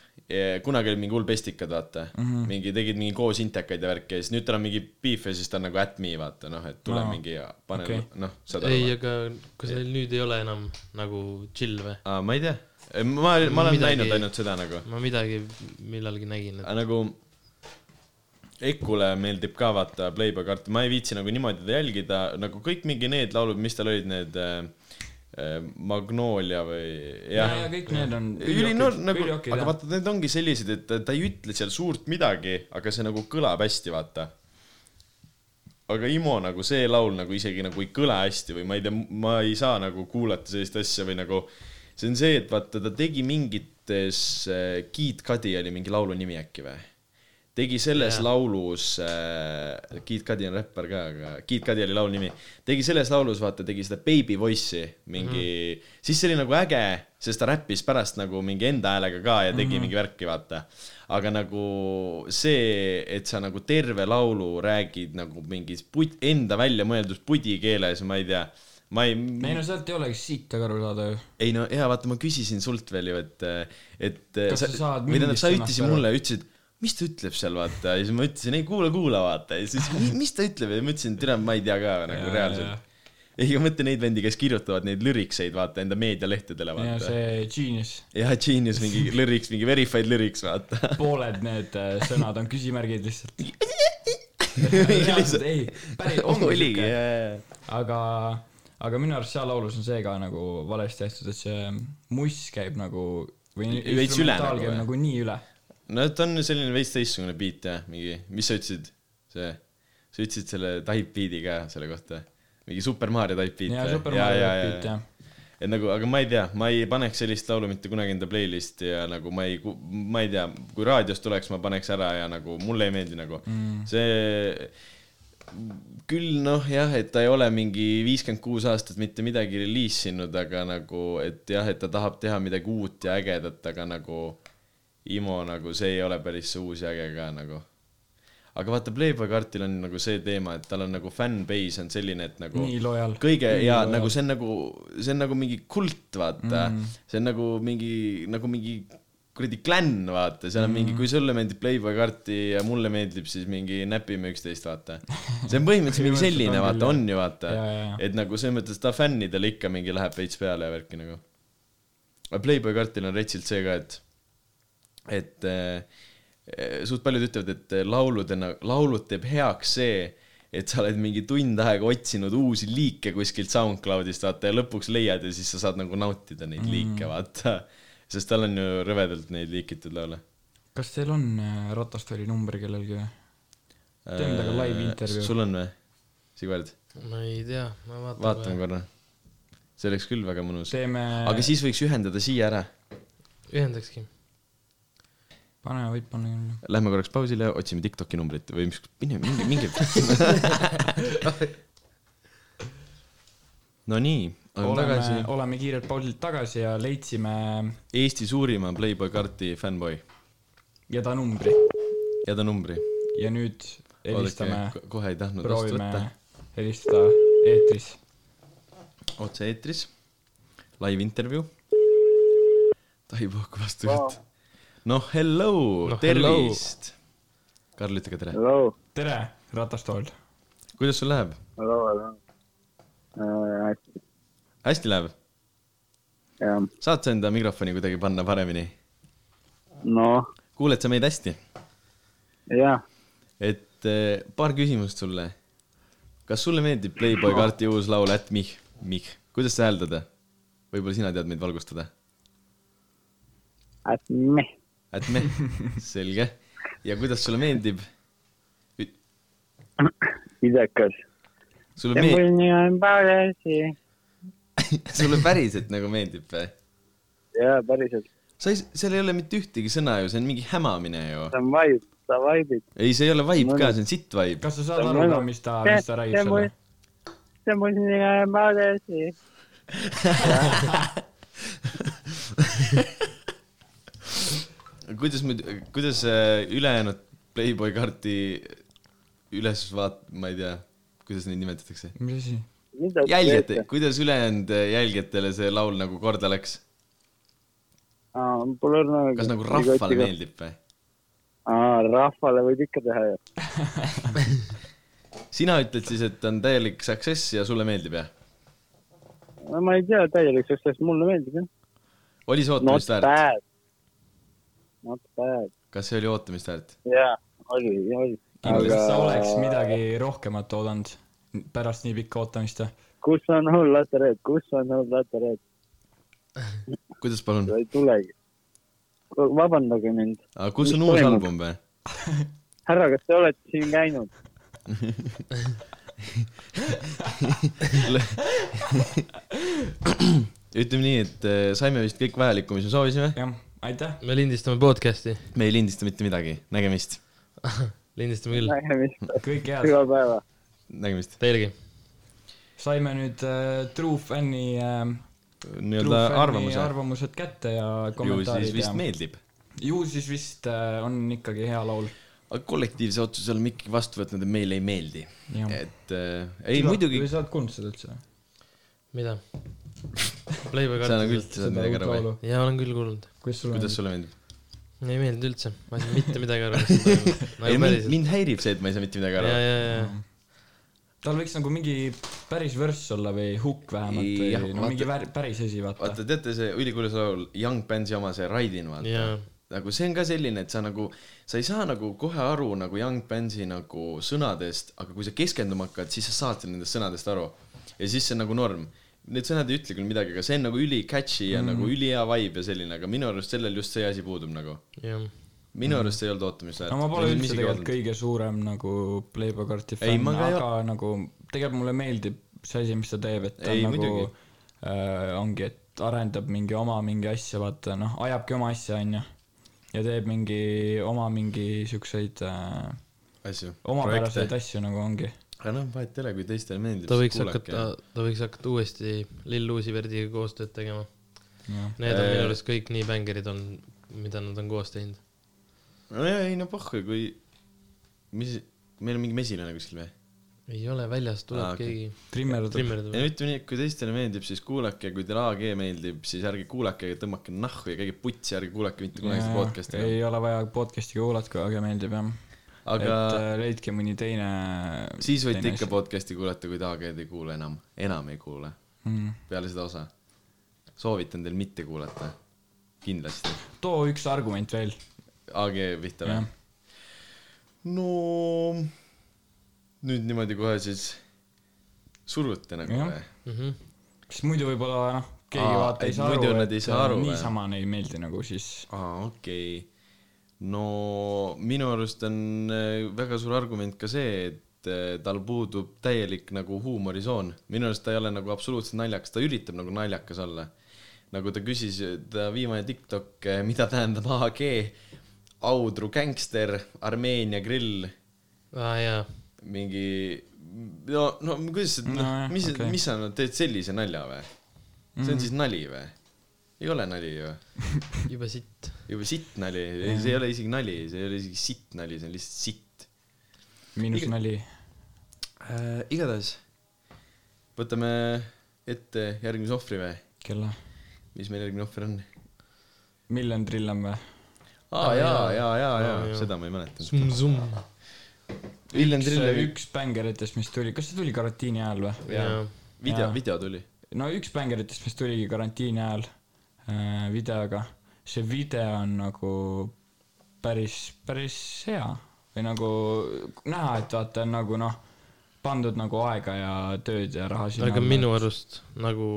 S2: kunagi olid mingi hull pestikad , vaata mm .
S1: Mhm.
S2: -hmm. mingi , tegid mingi koos intekaid ja värki ja siis nüüd tal on mingi beef ja siis ta on nagu at me , vaata noh , et tule
S1: Aa,
S2: no. mingi ja pane
S1: okei.
S2: okay. , noh , saad
S3: ei ,
S2: aru .
S3: aga kas neil nüüd ei ole enam nagu chill või ?
S2: aa , ma ei tea . ma , ma olen
S3: Midagi-
S2: näinud ainult seda nagu .
S3: ma midagi millalgi nägin , et
S2: aga nagu Ekule meeldib ka vaata Playboy kart , ma ei viitsi nagu niimoodi teda jälgida , nagu kõik mingi need laulud , mis tal olid , need äh, äh, Magnolia või
S1: ja ,
S2: jah
S1: ja kõik need on
S2: ülinoor nagu ,
S1: üliokid,
S2: aga
S1: jah.
S2: vaata , need ongi sellised , et ta- ta ei ütle seal suurt midagi , aga see nagu kõlab hästi , vaata . aga Imo nagu see laul nagu isegi nagu ei kõla hästi või ma ei tea , ma ei saa nagu kuulata sellist asja või nagu see on see , et vaata , ta tegi mingites , Kid Cudi oli mingi laulu nimi äkki või ? tegi selles yeah. laulus äh, , Kid Cudi on räppar ka , aga Kid Cudi oli laulu nimi , tegi selles laulus , vaata , tegi seda baby voice'i mingi mm , -hmm. siis see oli nagu äge , sest ta räppis pärast nagu mingi enda häälega ka ja tegi mm -hmm. mingi värki , vaata . aga nagu see , et sa nagu terve laulu räägid nagu mingis put- , enda välja mõeldud pudikeeles , ma ei tea , ma ei .
S1: ei no sealt ei olegi siit aru saada ju .
S2: ei no jaa , vaata ma küsisin sult veel ju , et , et
S1: Kas sa saad
S2: või tähendab ,
S1: mingist
S2: sa
S1: sõnast
S2: ütlesid
S1: aru?
S2: mulle , ütlesid , mis ta ütleb seal , vaata , ja siis ma ütlesin , ei kuula , kuula , vaata , ja siis mi- mis ta ütleb ja ma ütlesin , türa , ma ei tea ka nagu
S1: Jaa,
S2: ja, reaalselt . ei , ma mõtlen neid vendi , kes kirjutavad neid lürikseid , vaata , enda meedialehtedele ,
S1: ja
S2: vaata .
S1: see Genius ,
S2: jah , Genius mingi lüriks , mingi verified lüriks , vaata .
S1: pooled need äh, sõnad on küsimärgid lihtsalt .
S2: [laughs] Lihtsalt-
S1: ei , päris ongi
S2: [laughs] oligi ,
S1: siuke.
S2: jaa , jaa , jaa .
S1: aga , aga minu arust seal laulus on see ka nagu valesti tehtud , et see muss käib nagu või
S2: Veits üle
S1: instrumentaal
S2: nagu
S1: käib
S2: või?
S1: nagu nii üle .
S2: no ta on selline veits teistsugune beat jah , mingi , mis sa ütlesid , see , sa ütlesid selle type beat'i ka selle kohta , mingi Super Mario type beat .
S1: ja Super Mario beat jah .
S2: et nagu , aga ma ei tea , ma ei paneks sellist laulu mitte kunagi enda playlist'i ja nagu ma ei , ma ei tea , kui raadios tuleks , ma paneks ära ja nagu mulle ei meeldi nagu mm. see küll noh , jah , et ta ei ole mingi viiskümmend kuus aastat mitte midagi reliisinud , aga nagu , et jah , et ta tahab teha midagi uut ja ägedat , aga nagu Imo nagu see ei ole päris see uus ja äge ka nagu . aga vaata , Playboy kartil on nagu see teema , et tal on nagu fännbase on selline , et nagu
S1: nii lojal .
S2: kõige ja nagu see on nagu , see on nagu mingi kult , vaata mm. . see on nagu mingi , nagu mingi kuradi klann , vaata , seal on mm. mingi , kui sulle meeldib Playboy karti ja mulle meeldib , siis mingi näpime üksteist , vaata . see on [laughs] põhimõtteliselt mingi selline , vaata , on ju , vaata
S1: Jaa, jaa, jaa. .
S2: et nagu selles mõttes ta fännidele ikka mingi läheb veits peale ja värki nagu . aga Playboy kartil on retsilt see ka , et et äh, suht paljud ütlevad , et lauludena , laulud teeb heaks see , et sa oled mingi tund aega otsinud uusi liike kuskilt SoundCloudist , vaata , ja lõpuks leiad ja siis sa saad nagu nautida neid
S1: Mhm.
S2: liike , vaata . sest tal on ju rõvedalt neid liikitud laule .
S1: kas teil on äh, Ratastooli number kellelgi või ? Teeme temaga live intervjuu.
S2: Äh, sul on või , Sigvard ?
S3: ma ei tea , ma vaatan .
S2: vaatame . korra . see oleks küll väga mõnus .
S1: teeme ,
S2: aga siis võiks ühendada siia ära .
S3: ühendakski .
S1: pane , võid panna küll .
S2: Lähme korraks pausile , otsime Tiktoki numbrit või mis , mine , minge , minge . [laughs] Nonii , oleme tagasi
S1: oleme , oleme kiirelt pausilt tagasi ja leidsime
S2: Eesti suurima Playboy karti fännboi
S1: ja ta numbri
S2: ja ta numbri .
S1: ja nüüd helistame ,
S2: kohe ei tahtnud vastu
S1: proovime
S2: võtta .
S1: helistada eetris .
S2: otse-eetris , live intervjuu . Taivo hakkab vastu võtta . noh , hello
S3: Noh,
S2: no, , tervist . Karl , ütle ka tere .
S4: hallo ,
S1: tere , Ratastool .
S2: kuidas sul läheb ?
S4: hallo , hallo . hästi ,
S2: hästi läheb ?
S4: jah ,
S2: saad sa enda mikrofoni kuidagi panna paremini ?
S4: noh ,
S2: kuuled sa meid hästi ?
S4: jah ,
S2: et eh, paar küsimust sulle . kas sulle meeldib Playboy karti uus laul At Mih , Mih , kuidas sa hääldad ? võib-olla sina tead meid valgustada .
S4: hästi meh ,
S2: At Mih , selge . ja kuidas sulle meeldib ?
S4: viisakas .
S2: sulle
S4: ja mul
S2: meeldib ,
S4: nimi on Paulesi .
S2: [laughs] sulle päriselt nagu meeldib või ?
S4: jaa , päriselt ,
S2: sa ei , seal ei ole mitte ühtegi sõna ju , see on mingi hämamine ju .
S4: sa vaid , sa vaidid .
S2: ei , see ei ole vibe ka , see on sitt vibe .
S1: kas sa saad aru ka , mis ta , mis ta räägib sulle ?
S4: ja mul nimi on Paulesi .
S2: kuidas muidu , kuidas äh, ülejäänud Playboy karti ülesvaat- , ma ei tea , kuidas neid nimetatakse ?
S1: mis asi ?
S2: jälgijate ,. kuidas ülejäänud äh, jälgijatele see laul nagu korda läks ?
S4: Pole õrna .
S2: kas nagu rahvale ? meeldib või ?
S4: rahvale võid Ah, ikka teha ju .
S2: sina ütled siis , et on täielik success ja sulle meeldib jah ?
S4: no ma ei tea täielik suhtes , mulle meeldib jah .
S2: oli see
S4: Not
S2: ootamist väärt ?
S4: bad . Not bad ,
S2: kas see oli ootamist väärt ?
S4: jaa , oli , oli .
S1: kindlasti sa oleks midagi rohkemat oodanud pärast nii pikka ootamist .
S4: kus on hull latereed , kus on hull latereed ,
S2: kuidas palun ?
S4: ei tulegi . vabandage mind ,
S2: kus on
S4: Mis
S2: uus
S4: toimub?
S2: album või ? [clears throat]
S4: härra , kas te olete siin käinud ?
S2: ütleme nii , et äh, saime vist kõik vajalikku , mis me soovisime .
S1: jah , aitäh .
S3: me lindistame podcast'i , [laughs]
S2: me ei lindista mitte midagi . nägemist .
S3: lindistame küll ,
S4: nägemist ,
S1: kõike head .
S4: hüva päeva .
S2: nägemist .
S3: teilegi .
S1: saime nüüd äh, True Fani äh, , True
S2: nii-öelda
S1: Fani
S2: arvamuse .
S1: arvamused kätte ja
S2: ju siis
S1: kommentaarid
S2: vist
S1: ja
S2: meeldib .
S1: ju siis vist äh, on ikkagi hea laul .
S2: aga kollektiivse otsuse oleme ikkagi vastu võtnud ja meile ei meeldi .
S1: Jah.
S2: et äh, ei muidugi ,
S1: sa oled kuulnud seda üldse ?
S3: mida ? Playboy
S2: sa nagu
S3: kartus .
S2: üldse saad midagi ära või ??
S3: jaa , olen küll kuulnud .
S1: kuidas sulle
S2: kuidas
S1: meeldib ?
S2: sulle meeldib ?
S3: ei meeldinud üldse , ma ei saanud mitte midagi aru , mis siin
S2: [laughs] ei
S3: toimub . nagu
S2: mind ,
S3: päriselt .
S2: mind häirib see , et ma ei saa mitte midagi
S3: ja ,
S2: aru .
S3: ja , ja ,
S1: tal võiks nagu mingi päris värss olla või hukk vähemalt või
S2: Jah,
S1: no
S2: vaata-
S1: mingi vär- , päris asi , vaata .
S2: vaata , teate see ülikuulis laul Young Bandsi oma , see Raidin , vaata
S3: Jaa. .
S2: nagu see on ka selline , et sa nagu , sa ei saa nagu kohe aru nagu Young Bandsi nagu sõnadest , aga kui sa keskenduma hakkad , siis sa saad nendest sõnadest aru . ja siis see on nagu norm . Need sõnad ei ütle küll midagi , aga see on nagu üli catchy ja mm. nagu ülihea vibe ja selline , aga minu arust sellel just see asi puudub nagu .
S3: ja , ja .
S2: minu arust see ei olnud ootamist
S1: no Mm. ma pole üldse tegelikult . kõige suurem nagu Playboy karti
S2: Ei,
S1: fänn ,
S2: ma ka ei
S1: aga nagu tegelikult mulle meeldib see asi , mis ta teeb , et ta
S2: Ei,
S1: ei, nagu
S2: muidugi.
S1: äh, ongi , et arendab mingi oma mingi asja , vaata noh , ajabki oma asja , onju . ja teeb mingi oma mingi siukseid äh,
S2: asju .
S1: omapäraseid . asju nagu ongi .
S2: aga noh , vahet ei ole , kui teistele meeldib .
S3: ta võiks hakata , ta võiks hakata uuesti Lill Uusi Verdiga koostööd tegema . Need on minu arust kõik nii bängerid on , mida nad on koos teinud .
S2: nojah , ei no pohhu , kui , mis , meil on mingi mesilane kuskil või ?
S3: ei ole , väljas tuleb
S2: Aa,
S3: ah,
S2: okei.
S3: okay.
S1: Trimmer
S3: keegi , trimmer
S2: ei no
S3: tuleb .
S2: ütleme nii , et kui teistele meeldib , siis kuulake , kui teile AG meeldib , siis ärge kuulake , aga tõmmake nahku ja käige putsi , ärge kuulake mitte kunagi seda podcast'i enam .
S1: ei ole vaja podcast'i kuulata , kui väga meeldib jah .
S2: aga
S1: et äh, leidke mõni teine .
S2: siis võite ikka podcast'i kuulata , kui te AG-d ei kuule enam , enam ei kuule ,
S1: mm. .
S2: peale seda osa . soovitan teil mitte kuulata , kindlasti .
S1: too üks argument veel ,
S2: AG pihta või
S1: jah ?,
S2: no nüüd niimoodi kohe siis suruti nagu
S1: Jah.
S2: või ?
S3: mhmh ,
S1: sest muidu võib-olla noh , keegi
S2: Aa,
S1: vaata ei
S2: et
S1: saa
S2: muidu
S1: aru ,
S2: nad ei saa aru, või?
S1: niisama neile ei meeldi nagu siis
S2: aa , okei okay. . no minu arust on äh, väga suur argument ka see , et äh, tal puudub täielik nagu huumorisoon . minu arust ta ei ole nagu absoluutselt naljakas , ta üritab nagu naljakas olla . nagu ta küsis , ta viimane TikTok , mida tähendab AG , Audru gängster , Armeenia grill ,
S3: aa jaa ,
S2: mingi no , no kuidas ,
S1: Nojah,
S2: noh , mis
S1: okei. Mm.
S2: okay. , mis sa no, teed sellise nalja või ? see on siis nali või ? ei ole nali ju
S3: jube sitt .
S2: juba sitt nali , ei see ei ole isegi nali , see ei ole isegi sitt nali , see on lihtsalt sitt
S1: miinusnali .
S2: äh, . igatahes võtame ette järgmise ohvri või ,
S1: kelle ?
S2: mis meil järgmine ohver on ?
S1: Millen Trillam või ?
S2: aa ah, jaa , jaa , jaa ,
S3: Aa, jaa.
S2: jaa , seda ma ei mäletanud .
S3: Zum-zum .
S2: Villem
S1: üks ,
S2: Trillevi
S1: üks bängeritest , mis tuli , kas see tuli karantiini ajal või ?
S3: jaa ,
S2: video
S1: jaa. ,
S2: video tuli .
S1: no üks bängeritest , mis tuligi karantiini ajal äh, videoga , see video on nagu päris , päris hea või nagu näha , et vaata on nagu noh , pandud nagu aega ja tööd ja raha sinna .
S3: aga minu arust nagu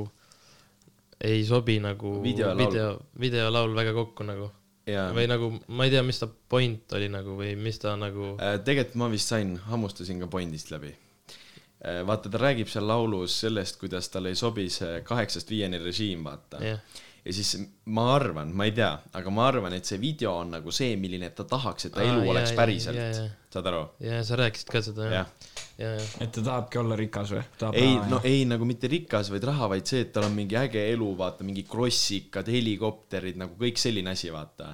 S3: ei sobi nagu
S2: Videolaul.
S3: video , videolaul väga kokku nagu .
S2: jaa
S3: või nagu ma ei tea , mis ta point oli nagu või mis ta nagu ,
S2: Äh, tegelikult ma vist sain , hammustasin ka Bondist läbi . vaata , ta räägib seal laulus sellest , kuidas talle ei sobi see kaheksast viieni režiim , vaata
S3: Jah.
S2: ja siis ma arvan , ma ei tea , aga ma arvan , et see video on nagu see , milline ta tahaks , et ta
S3: Aa,
S2: elu
S3: jaa,
S2: oleks
S3: jaa, jaa, jaa.
S2: päriselt . saad aru ?
S3: jaa , sa rääkisid ka seda jah
S2: Jah. ,
S3: jaa , jah .
S1: et ta tahabki olla rikas või ?
S2: ei , no ei nagu mitte rikas , vaid raha , vaid see , et tal on mingi äge elu , vaata , mingi krossikad , helikopterid , nagu kõik selline asi , vaata .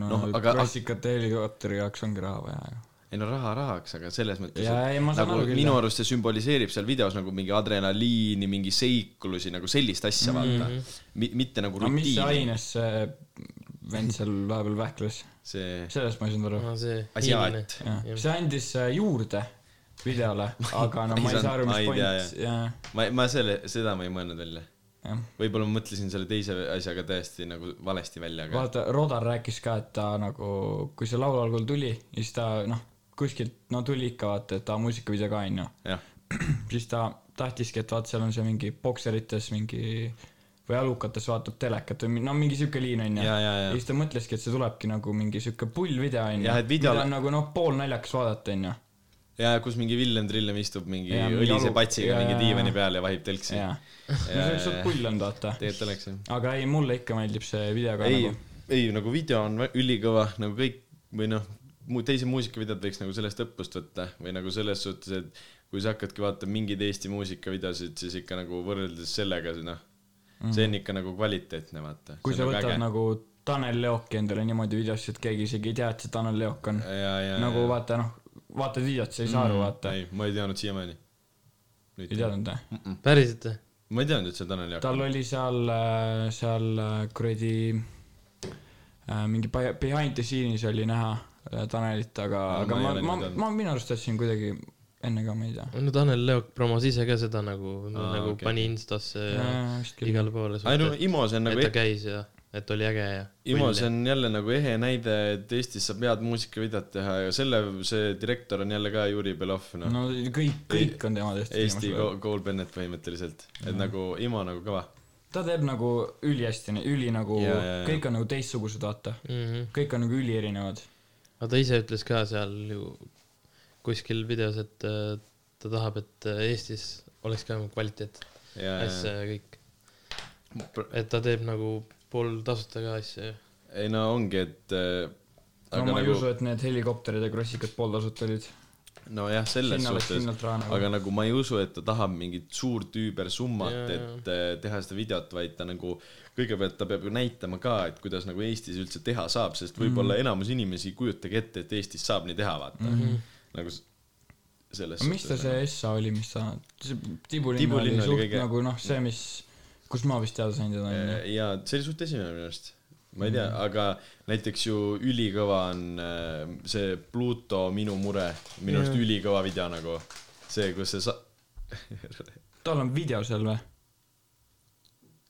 S1: no,
S2: noh,
S1: no
S2: aga-
S1: aga klassikate helikopteri jaoks ongi raha vaja ju .
S2: ei no raha rahaks , aga selles mõttes ,
S1: Jaa, ei, ma saan
S2: nagu
S1: aru küll,
S2: minu
S1: jah.
S2: arust see sümboliseerib seal videos nagu mingi adrenaliini , mingi seiklusi , nagu sellist asja mm , -hmm. vaata . mitte nagu
S1: Mhm. no mis
S2: rutiini .
S1: aines see vend seal vahepeal vähkles ,
S2: see ,
S1: sellest ma ei saanud aru .
S3: aa , see
S2: Asiaat.
S3: hiiline .
S1: jah , see andis äh, juurde videole , aga no ma ei saa aru ,
S2: Ma
S1: mis
S2: ei tea,
S1: point , jah ,
S2: ma , ma selle , seda ma ei mõelnud välja .
S1: jah .
S2: võib-olla ma mõtlesin selle teise asjaga täiesti nagu valesti välja , aga
S1: vaata , Rodar rääkis ka , et ta nagu , kui see laul algul tuli , siis ta noh , kuskilt , no tuli ikka vaata , et ta on muusikavideo ka onju .
S2: jah ,
S1: [clears throat] siis ta tahtiski , et vaata , seal on see mingi bokserites mingi või alukates vaatab telekat või mi- no mingi siuke liin onju .
S2: Ja, ja, ja.
S1: siis ta mõtleski , et see tulebki nagu mingi siuke pull video onju
S2: Jah, , et video-
S1: mida on nagu noh , poolnaljakas vaadata onju .
S2: ja kus mingi Villem Trillem istub mingi
S1: Jaa, mingi
S2: õlise
S1: alu-
S2: patsiga
S1: jaa,
S2: mingi
S1: jaa,
S2: diivani
S1: jaa.
S2: peal ja vahib telksi .
S1: jaa , no see oleks olnud pull olnud vaata .
S2: tegelikult oleks jah .
S1: aga ei , mulle ikka meeldib see video ka
S2: ei
S1: nagu .,
S2: ei nagu video on vä- ülikõva , nagu kõik või noh , mu teise muusikavideod võiks nagu sellest õppust võtta või nagu selles suhtes , et kui sa hakkadki vaatama mingeid Eesti muusikavideosid , siis ikka nagu võrreldes sellega , noh , see on ikka nagu kvaliteetne , vaata .
S1: Mhm. kui sa võtad . nagu Tanel Leoki endale niimoodi videosse , et keegi isegi ei tea , et see Tanel Leok on .
S2: ja , ja ,
S1: nagu
S2: ja ,
S1: vaata noh , vaatad videot , sa ei saa
S2: Mhm.
S1: aru , vaata .
S2: ei , ma ei teadnud siiamaani .
S1: ei teadnud või ?
S2: Mm.
S3: päriselt või ?
S2: ma ei teadnud üldse Tanel Jaak .
S1: tal oli seal , seal äh, kuradi äh, mingi pai- behind the scene'is oli näha äh, Tanelit , aga , aga
S2: ma ei
S1: ma ma
S2: ole , niimoodi , olnud.
S1: ma minu arust tahtsin kuidagi enne ka , ma ei tea .
S3: no Tanel Leok promos ise ka seda nagu ,
S2: okei.
S3: nagu okay. pani Instasse ja
S1: Jaa, vist küll.
S3: igale poole .
S2: ei no
S3: et
S2: Imo , see on nagu
S3: ta käis ja , et oli äge ja .
S2: Imo , see on jälle nagu ehe näide , et Eestis saab head muusikavideot teha ja selle , see direktor on jälle ka Juri Belov , noh .
S1: no kõik , kõik on Mhm. tema tehtud
S2: E- Eesti
S1: viimasel ajal .
S2: Go- Cole Bennett põhimõtteliselt , et nagu Imo nagu kõva .
S1: ta teeb nagu ülihästi , üli nagu
S2: Jaa, jaa, jaa. ,
S1: kõik on nagu teistsugused , vaata .
S3: mm . -hmm.
S1: kõik on nagu ülierinevad .
S3: aga ta ise ütles ka seal ju kuskil videos , et äh, ta tahab , et äh, Eestis oleks ka kvaliteet
S2: ja ,
S3: asja
S2: ja ,
S3: ja kõik .
S2: Pr-
S3: et ta teeb nagu pool tasuta ka asja .
S2: ei no ongi , et äh,
S1: no
S2: aga
S1: ma ei usu ,
S2: nagu ,
S1: et need helikopterid ja krossikad pooltasuta olid .
S2: nojah , selles
S1: sinna läks
S2: suhtes
S1: kindlalt , raha nagu.
S2: aga nagu ma ei usu , et ta tahab mingit suurt üübersummat
S3: Jaa, , jaa.
S2: et äh, teha seda videot , vaid ta nagu , kõigepealt ta peab ju näitama ka , et kuidas nagu Eestis üldse teha saab ,
S1: Mhm.
S2: sest võib-olla enamus inimesi ei kujutagi ette , et Eestis saab nii teha , vaata mm . -hmm. nagu s- selles
S1: Mhm. aga mis ta see Essa oli , mis ta , see Tibu linn
S2: Tibu
S1: oli
S2: linn oli
S1: suht
S2: kõige-
S1: nagu noh , see , mis , kus ma vist teada sain teda
S3: Mhm.
S1: onju .
S2: ja see oli suht esimene minu arust , ma ei tea , aga näiteks ju ülikõva on äh, see Pluto Minu mure , minu arust ülikõva video nagu see , kus see sa- , [laughs]
S1: tal on video seal või ?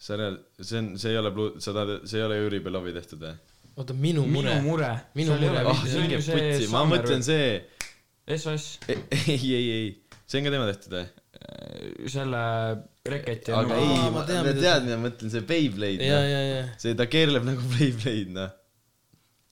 S2: sa reaal- , see on , see ei ole Plu- , sa tahad , see ei ole Jüri Belovi tehtud või ?
S3: oota , minu
S1: minu
S3: mure .
S1: mure .
S3: Minu mure.
S2: ah , hinge putsi , ma mõtlen . see , [laughs]
S1: SOS ,
S2: ei , ei , ei , see on ka tema tehtud või ?
S1: äh, selle reketi .
S2: aga
S3: Aa,
S2: ei ,
S3: ma
S2: ma
S3: tean,
S2: ma
S3: mida
S2: tean , mida ma mõtlen , see Beyblade
S3: ja ,
S2: noh.
S3: ja , ja .
S2: see , ta keerleb nagu Beyblade , noh .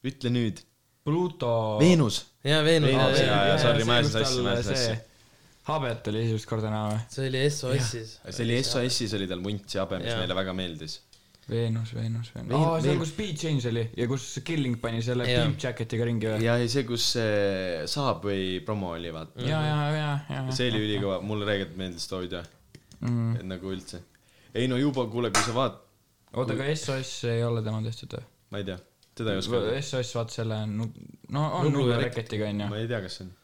S2: ütle nüüd .
S1: Pluto .
S2: Veenus .
S3: ja Veenu
S2: Veenu-
S3: ja ,
S2: jaa,
S3: ja , ja ,
S2: jaa, sorry, ma ajasin sassi, ma ajasin sassi.
S1: habet oli esimest korda näha või ?
S3: see oli SOS-is .
S2: see oli SOS-is oli tal munts ja habe , mis
S3: Jaa.
S2: meile väga meeldis .
S1: Veenus , Veenus , Veenus .
S2: Veen-
S1: aa , see
S2: Veen-
S1: on , kus Speed Change oli ja kus Killing pani selle
S3: Jaa.
S1: pimp jacket'iga ringi või ?
S2: ja , ja see , kus see Subway promo oli , vaata .
S1: ja , ja , ja , ja .
S2: see oli ülikõva , mulle tegelikult meeldis too video ,
S1: mm. .
S2: et nagu üldse . ei no juba , kuule , kui sa vaat- ,
S1: oota , aga SOS ei ole tema tehtud või ?
S2: ma ei tea , teda ei oska öelda .
S1: SOS , vaata selle , no on
S3: Nublu
S1: Nublu
S3: ja
S1: reketiga onju .
S2: ma ei tea , kas see on .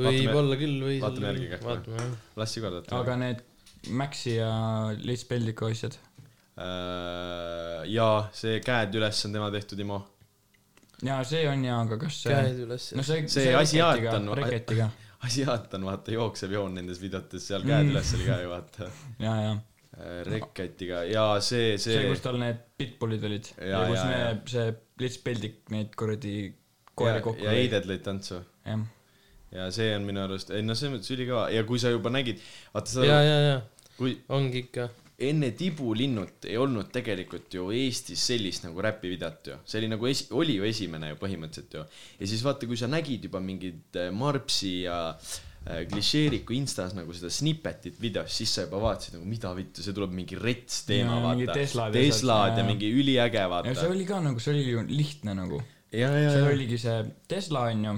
S3: võib-olla küll , või .
S2: vaatame järgi kah.
S3: vaatame jah .
S2: las igatahes .
S1: aga need Maxi ja Liis Peldiku asjad ,
S2: Äh, ja see Käed üles on tema tehtud IMO .
S1: jaa , see on jaa , aga kas see ,
S3: käed üles .
S1: no see ,
S2: see asiaat on-
S1: reketiga ,
S2: asiaat on vaata jooksev joon nendes videotes , seal
S1: Mm.
S2: Käed üles oli ka ju vaata .
S1: jaa , jaa .
S2: Rekketiga ja see ,
S1: see, see ,
S2: see
S1: kus . tal need pitbullid olid ja, ja
S2: Jaa,
S1: kus
S2: jaa,
S1: me
S2: jaa.
S1: see Liis Peldik neid kuradi koeri kokku
S2: ja heided lõid tantsu .
S1: jah ,
S2: ja see on minu arust , ei no selles mõttes ülikõva ja kui sa juba nägid , vaata sa ,
S3: ja , ja , ja
S2: kui
S3: ongi ikka .
S2: enne Tibulinnut ei olnud tegelikult ju Eestis sellist nagu räpivideot ju , see oli nagu esi- , oli ju esimene ju põhimõtteliselt ju . ja siis vaata , kui sa nägid juba mingit äh, Marpsi ja äh, klišeeriku Instas nagu seda snippetit videos , siis sa juba vaatasid nagu mida vittu , see tuleb mingi rets teema ,
S1: Ja mingi
S2: vaata .
S1: Teslad ja
S2: Teslad
S1: asjad,
S2: ja
S1: jaa.
S2: mingi üliäge , vaata
S1: ja . see oli ka nagu , see oli ju lihtne nagu ,
S2: ja , ja ,
S1: seal
S2: ja ,
S1: oligi see Tesla onju ,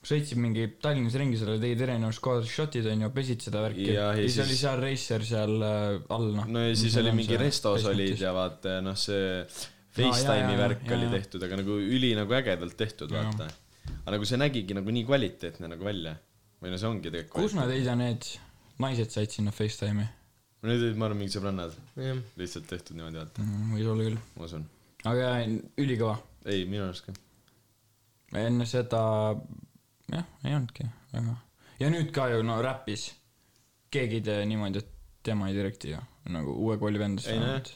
S1: sõitsid mingi Tallinnas ringi , seal tegid erinevus kohas šotid onju , pesid seda värki
S2: Jah,
S1: ja
S2: ja
S1: siis
S2: siis-
S1: oli seal Racer seal äh, all noh .
S2: no ja siis oli mingi restos olid ja vaata ja noh , see
S1: jaa,
S2: Facetime'i
S1: jaa,
S2: värk
S1: jaa,
S2: oli
S1: jaa.
S2: tehtud , aga nagu üli nagu ägedalt tehtud ,
S1: Jaa.
S2: vaata . aga nagu see nägigi nagu nii kvaliteetne nagu välja . või no see ongi
S1: kus
S2: tegelikult .
S1: nad ei tea , need naised said sinna Facetime'i
S2: Need olid , ma arvan , mingid sõbrannad ,
S3: jah ,
S2: lihtsalt tehtud niimoodi , vaata ,
S1: mm, , võis olla küll ,
S2: ma usun .
S1: aga jaa, ülikõva ,
S2: ei , minu arust ka .
S1: enne seda jah , ei olnudki väga . ja nüüd ka ju no räpis , keegi ei tee niimoodi , et tema ei direkti ju , nagu uue kooli vend .
S2: ei noh ,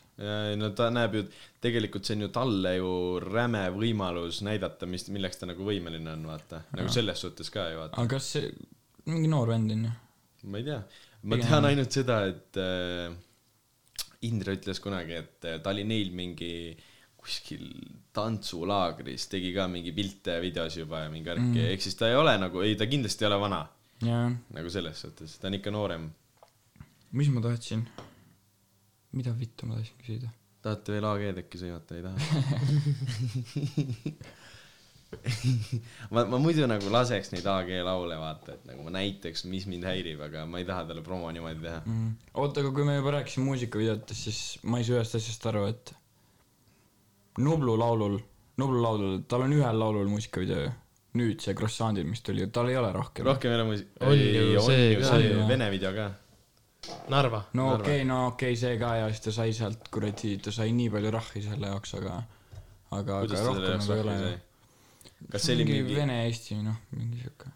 S2: ei no ta näeb ju , tegelikult see on ju talle ju räme võimalus näidata , mis , milleks ta nagu võimeline on , vaata . nagu selles suhtes ka ju , vaata .
S1: aga kas see , mingi noor vend on ju ?
S2: ma ei tea , ma tean ainult seda , et äh, Indra ütles kunagi , et äh, ta oli neil mingi kuskil tantsulaagris , tegi ka mingi pilte ja videosi juba ja mingi värki mm. , ehk siis ta ei ole nagu , ei ta kindlasti ei ole vana ,
S1: jaa ,
S2: nagu selles suhtes , ta on ikka noorem .
S1: mis ma tahtsin ? mida vittu ma tahtsin küsida ?
S2: tahate veel AG-d äkki sõimata , ei taha ? [laughs] ma , ma muidu nagu laseks neid AG laule vaata , et nagu ma näiteks , mis mind häirib , aga ma ei taha talle promo niimoodi teha .
S1: mm. . oota , aga kui me juba rääkisime muusikavideotest , siis ma ei saa ühest asjast aru , et Nublu laulul , Nublu laulul , tal on ühel laulul muusikavideo ju . nüüd see Croissantid , mis tuli , tal ei ole rohkem .
S2: rohkem ei ole muusik- .
S3: On ju see ka
S1: ju.
S2: Vene video ka .
S3: Narva .
S1: no okei okay, , no okei okay, , see ka ja siis ta sai sealt kuradi , ta sai nii palju rahvi selle jaoks , aga , aga ,
S2: kuidas
S1: aga
S2: ta selle
S1: rohkem
S2: jaoks
S1: nagu ei
S2: rohkem
S1: ole
S2: sai ? kas see oli mingi ,
S1: Vene-Eesti , noh , mingi sihuke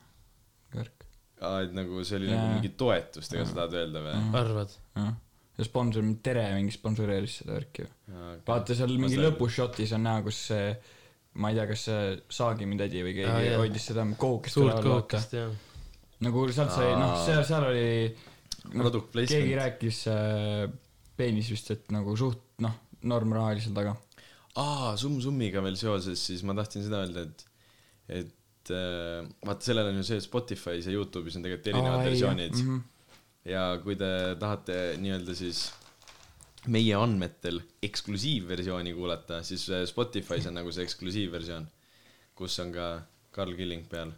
S1: värk ,
S2: et nagu see oli nagu
S1: Jaa.
S2: mingi toetustega , sa tahad öelda või ?
S3: arvad ?
S1: jah . ja sponsor , Tere mingi sponsoreeris seda värki ju . vaata seal mingi lõpušotis on näha , kus see , ma ei tea , kas see Saagimi tädi või
S3: Aa,
S1: keegi
S3: jah.
S1: hoidis seda kookist
S3: suurt . kohukest , jah .
S1: nagu sealt sai , noh , seal , seal oli noh,
S2: Product placement.
S1: keegi rääkis äh, peenis vist , et nagu suht , noh , normraha oli seal taga .
S2: aa , Sum-Summiga veel seoses , siis ma tahtsin seda öelda , et , et äh, vaata , sellel on ju see Spotify's ja Youtube'is on tegelikult erinevad versioonid
S1: mm . -hmm.
S2: ja kui te tahate nii-öelda siis meie andmetel eksklusiivversiooni kuulata , siis äh, Spotify's on nagu see eksklusiivversioon , kus on ka Karl Killing peal .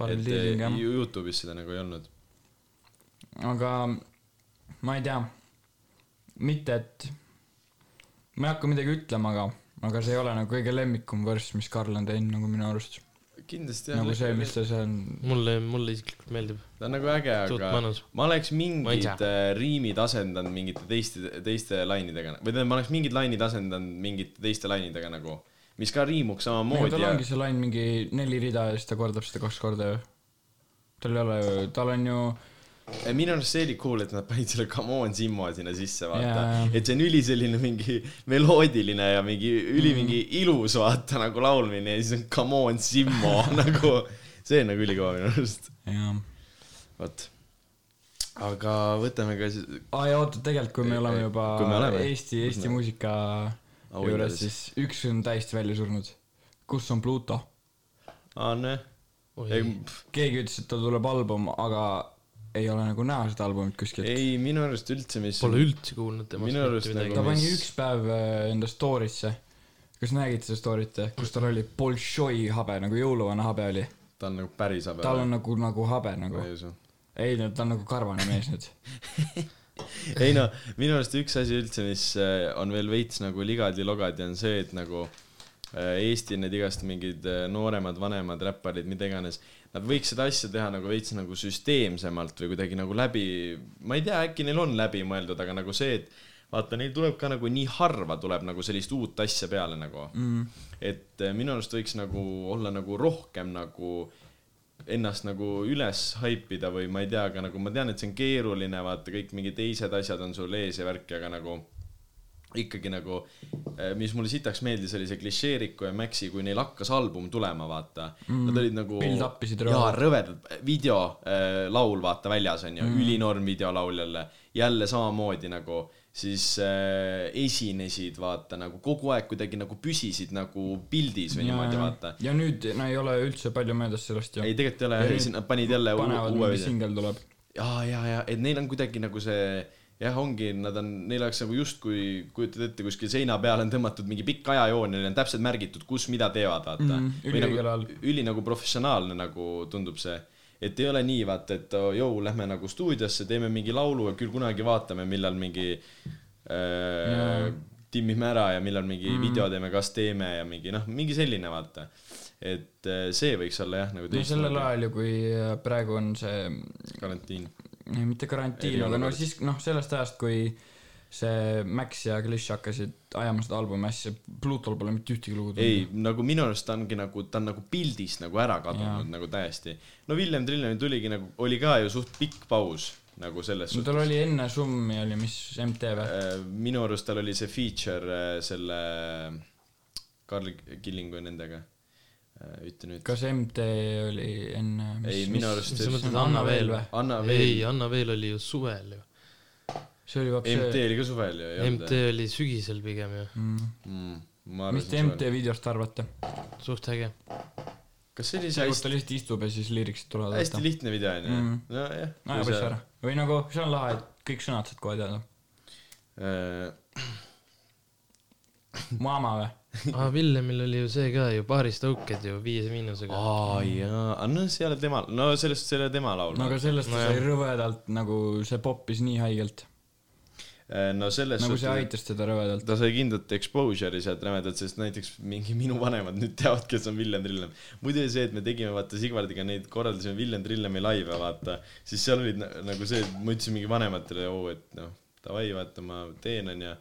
S1: Karl
S2: et
S1: Killing,
S2: äh,
S1: jah.
S2: Youtube'is seda nagu ei olnud .
S1: aga ma ei tea , mitte et , ma ei hakka midagi ütlema , aga , aga see ei ole nagu kõige lemmikum värss , mis Karl on teinud nagu minu arust .
S2: kindlasti
S1: nagu see , mis ta seal ,
S3: mulle , mulle isiklikult meeldib .
S2: ta on nagu äge ,
S3: Suht
S2: aga
S3: mõnus.
S2: ma oleks
S3: Ma ei
S2: mingid
S3: tea.
S2: äh, riimid asendanud mingite teiste , teiste lainidega või tähendab , ma oleks mingid lainid asendanud mingite teiste lainidega nagu , mis ka riimuks samamoodi
S1: tal
S2: ja
S1: ongi seal ainult mingi neli rida ja siis ta kordab seda kaks korda ju . tal ei ole ju , tal on ju ,
S2: minu arust see oli cool , et nad panid selle Come on Simmo sinna sisse , vaata
S1: Jaa.
S2: yeah. . et see on üli selline mingi meloodiline ja mingi üli mm. mingi ilus , vaata nagu laulmine ja siis on Come on Simmo nagu , see on nagu ülikõva minu arust ,
S1: jah .
S2: vot . aga võtame ka siis ,
S1: aa ja oota , tegelikult kui me
S2: Ei,
S1: oleme
S2: ei,
S1: juba
S2: kui me oleme.
S1: Eesti , Eesti muusika juures ,
S2: Auhindades.
S1: siis üks on täiesti välja surnud . kus on Pluto ?
S2: Anne .
S3: oi ,
S2: ei ,
S1: keegi ütles , et tal tuleb album , aga ei ole nagu näha seda albumit kuskilt .
S2: ei minu arust üldse , mis .
S3: pole üldse kuulnud temast
S2: Minu arust
S3: mitte midagi
S1: ta
S2: nagu- .
S1: pani
S2: mis-
S1: üks päev äh, enda story'sse , kas nägite seda story't , kus tal oli Bolšoi habe , nagu jõuluvana habe oli .
S2: ta on nagu päris habe .
S1: tal on nagu , nagu habe nagu
S2: ma . ei usu
S1: ei no ta on nagu karvane mees nüüd .
S2: ei no minu arust üks asi üldse , mis äh, on veel veits nagu ligadi-logadi , on see , et nagu äh, Eesti need igast mingid äh, nooremad , vanemad räpparid , mida iganes , nad võiks seda asja teha nagu veits nagu süsteemsemalt või kuidagi nagu läbi , ma ei tea , äkki neil on läbimõeldud , aga nagu see , et vaata , neil tuleb ka nagu nii harva tuleb nagu sellist uut asja peale nagu mm. . et äh, minu arust võiks nagu olla nagu rohkem nagu ennast nagu üles haipida või ma ei tea , aga nagu ma tean , et see on keeruline , vaata kõik mingid teised asjad on sul ees ja värki , aga nagu ikkagi nagu , mis mulle sitaks meeldis , oli see klišeeriku ja Maxi , kui neil hakkas album tulema , vaata mm. . Nad olid nagu .
S1: Build-up isid
S2: rõvedad . jaa
S1: rõvedalt. ,
S2: rõvedad , video äh, , laul , vaata väljas on ju mm. , ülinorm videolaul jälle . jälle samamoodi nagu siis äh, esinesid , vaata nagu kogu aeg kuidagi nagu püsisid nagu pildis või niimoodi , vaata .
S1: ja nüüd no ei ole üldse palju möödas sellest ju
S2: ei ,. tegelikult ei ole ,
S1: Ja
S2: siis nad panid jälle uue
S1: panevad
S2: uue
S1: mingi
S2: video .
S1: singel tuleb .
S2: ja , ja , ja , et neil on kuidagi nagu see jah , ongi , nad on , neil oleks nagu justkui , kujutad ette , kuskil seina peale on tõmmatud mingi pikk ajajoon ja neil on täpselt märgitud , kus mida teevad , vaata
S1: Mhm,
S2: Või
S1: üliõigel ajal.
S2: nagu, . üli nagu professionaalne nagu tundub see , et ei ole nii , vaata , et oo, jõu , lähme nagu stuudiosse , teeme mingi laulu ja küll kunagi vaatame , millal mingi äh, timmime ära ja millal mingi
S1: Mhm.
S2: mm. video teeme , kas teeme ja mingi noh , mingi selline vaata . et äh, see võiks olla jah , nagu
S1: no sellel
S2: teistmoodi.
S1: ajal ju , kui äh, praegu on see ,
S2: karantiin .
S1: mitte karantiin , aga no
S2: Eriolukord.
S1: siis noh , sellest ajast , kui see Max ja Kliš hakkasid ajama seda albumi asja , Pluutol pole mitte ühtegi lugu
S2: ei , nagu minu arust ta ongi nagu , ta on nagu pildist nagu ära kadunud nagu täiesti . no Villem Trillem tuligi nagu , oli ka ju suht pikk paus nagu selles
S1: no
S2: suhtes .
S1: tal oli enne Summi oli , mis MTV ,
S2: minu arust tal oli see feature äh, selle Karl Killingu ja nendega . ütle nüüd .
S1: kas MT oli enne , mis
S2: Ei, , minu arust
S1: mis ,
S2: see-
S3: mis sa
S1: see
S3: mõtled ,
S1: on
S3: Anna
S1: Anna
S3: veel
S1: Veel
S3: või ?
S2: Anna
S3: ei ,
S2: veel ,
S3: Anna veel oli ju suvel ju .
S1: see oli vaps see ,
S2: MT
S1: mm.
S2: oli ka suvel ju , ei olnud Mm,
S3: MT ? oli sügisel pigem ju ,
S2: ma
S1: mis te
S2: arvan ,
S1: MT videost arvate ?
S3: suht äge .
S2: kas see oli see
S1: see , kus
S2: hästi ,
S1: ta lihtsalt istub ja siis liiriksid tulevad ,
S2: hästi
S1: vaata .
S2: lihtne video onju
S1: Mhm. ?
S2: nojah .
S1: no ja võiks ära . või nagu , see on lahe , et kõik sõnad saad kohe teada .
S2: Äh,
S1: Mama või ? [laughs]
S3: aa , Ah, Villemil oli ju see ka ju , Baaris tõuked ju , Viies Miinusega .
S2: aa jaa , no see ei ole tema , no sellest , see ei ole tema laul .
S1: no aga Nagu sellest ta sai rõvedalt nagu see poppis nii haigelt ,
S2: Äh, no selles
S1: nagu see
S2: suhtes ,
S1: aitas teda rõvedalt .
S2: ta sai kindlat exposure'i sealt rämedalt , sest näiteks mingi [laughs] minu vanemad nüüd teavad , kes on Villem Trillem . muidu oli see , et me tegime vaata Sigvardiga neid , korraldasime Villem Trillemi laive , vaata , siis seal olid na- nagu see , et ma ütlesin mingi vanematele , oo , et noh , davai , vaata , ma teen , onju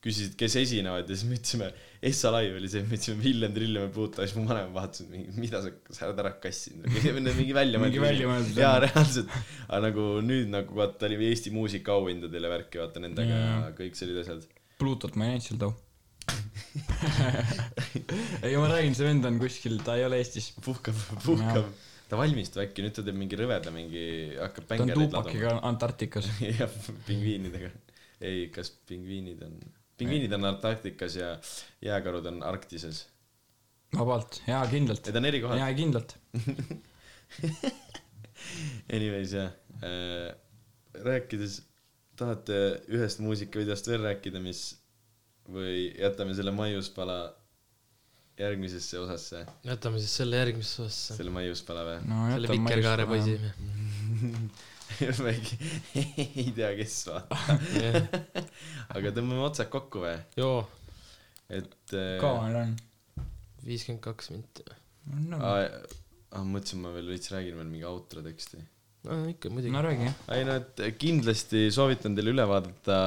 S2: küsisid , kes esinevad ja siis me ütlesime , Essa Live oli see , me ütlesime Villem Trillem ja Puuta , siis mu vanem vaatas , et mingi , mida sa , sa oled ära kassinud , [laughs] mingi välja
S1: Mingi väljamõeldud
S2: jaa , reaalselt , aga nagu nüüd nagu vaata oli Eesti muusikaauhindadele värki , vaata nendega ja kõik sellised asjad .
S1: Pluutot ma ei näinud [laughs] seal too . ei , ma räägin , see vend on kuskil , ta ei ole Eestis .
S2: puhkab , puhkab . ta valmistub äkki , nüüd ta teeb mingi rõveda mingi ,
S1: ta
S2: hakkab
S1: on
S2: bängereid laduma .
S1: Tupakiga Antarktikas .
S2: [laughs] jah , pingviinidega . ei , kas pingviinid on , pingviinid on Antarktikas ja jääkarud on Arktises .
S1: vabalt , jaa , kindlalt .
S2: Need on eri kohad .
S1: jaa , kindlalt .
S2: Anyways jah , rääkides , tahate ühest muusikavideost veel rääkida , mis või jätame selle maiuspala järgmisesse osasse ,
S3: jätame siis selle järgmisse osasse .
S2: selle maiuspala või ?
S1: no
S3: selle Vikerkaare . poisi .
S2: [laughs] ma ei, ei tea , kes vaata , [laughs] aga tõmbame otsad kokku või ,
S3: joo ,
S2: et äh,
S1: kaua meil on ?
S3: viiskümmend kaks minti .
S1: no
S2: aa, aa, mõtlesin , ma veel veits räägin veel mingi outro teksti
S3: no ikka muidugi
S1: no
S3: no, .
S1: räägi jah .
S2: ei no , et äh, kindlasti soovitan teil üle vaadata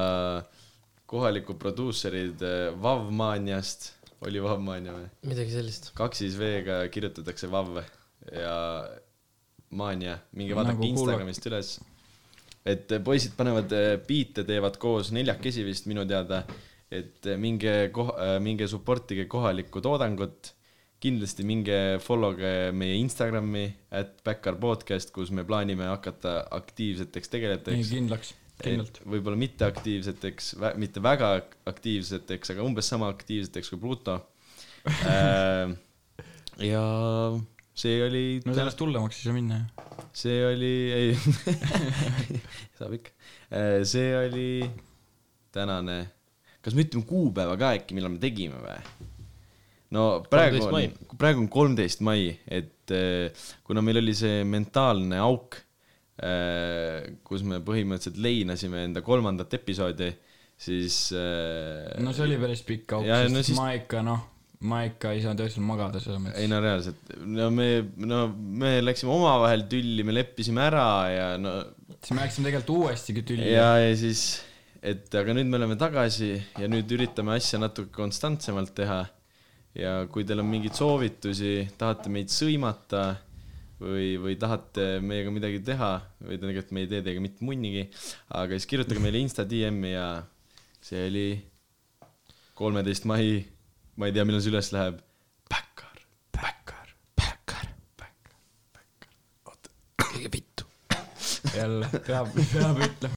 S2: kohaliku produusserid äh, Vavmaniast , oli Vavmania või ?
S3: midagi sellist .
S2: kaksis V-ga kirjutatakse Vav ja E Mania , minge vaadake
S1: Nagu
S2: nagu
S1: kuulak-
S2: Instagramist üles . et poisid panevad äh, biite , teevad koos neljakesi vist minu teada , et äh, minge koha , minge supportige kohalikku toodangut , kindlasti minge follow'ge meie Instagrami , at Backyard podcast , kus me plaanime hakata aktiivseteks
S1: ei
S2: tegelejateks .
S1: kindlaks , kindlalt .
S2: võib-olla mitte aktiivseteks , mitte väga ak- aktiivseteks , aga umbes sama aktiivseteks kui
S1: [laughs]
S2: Pluto äh, . ja see oli
S1: no sellest hullemaks ei saa minna ju .
S2: see oli , ei , [laughs] saab ikka . see oli tänane , kas me ütleme kuupäeva ka äkki , millal me tegime või ? no praegu
S3: 13 mai.
S2: on , praegu on kolmteist mai , et eh, kuna meil oli see mentaalne auk , kus me põhimõtteliselt leinasime enda kolmandat episoodi , siis eh,
S1: no see oli päris pikk auk ,
S2: Ja,
S1: sest
S2: no
S1: no,
S2: siis-
S1: siis... ma ikka noh , ma ikka ei saanud öösel magada selles
S2: ei
S1: mõttes .
S2: no reaalselt , no me , no me läksime omavahel tülli , me leppisime ära ja no
S1: siis me läksime tegelikult uuestigi tülli .
S2: ja , ja siis , et aga nüüd me oleme tagasi ja nüüd üritame asja natuke konstantsemalt teha . ja kui teil on mingeid soovitusi , tahate meid sõimata või , või tahate meiega midagi teha või tegelikult me ei tee teiega mitte munnigi , aga siis kirjutage meile Insta DM-i ja see oli kolmeteist mai , ma ei tea , millal see üles läheb . Backyard , Backyard , Backyard , Backyard .
S1: jälle , peab , peab ütlema .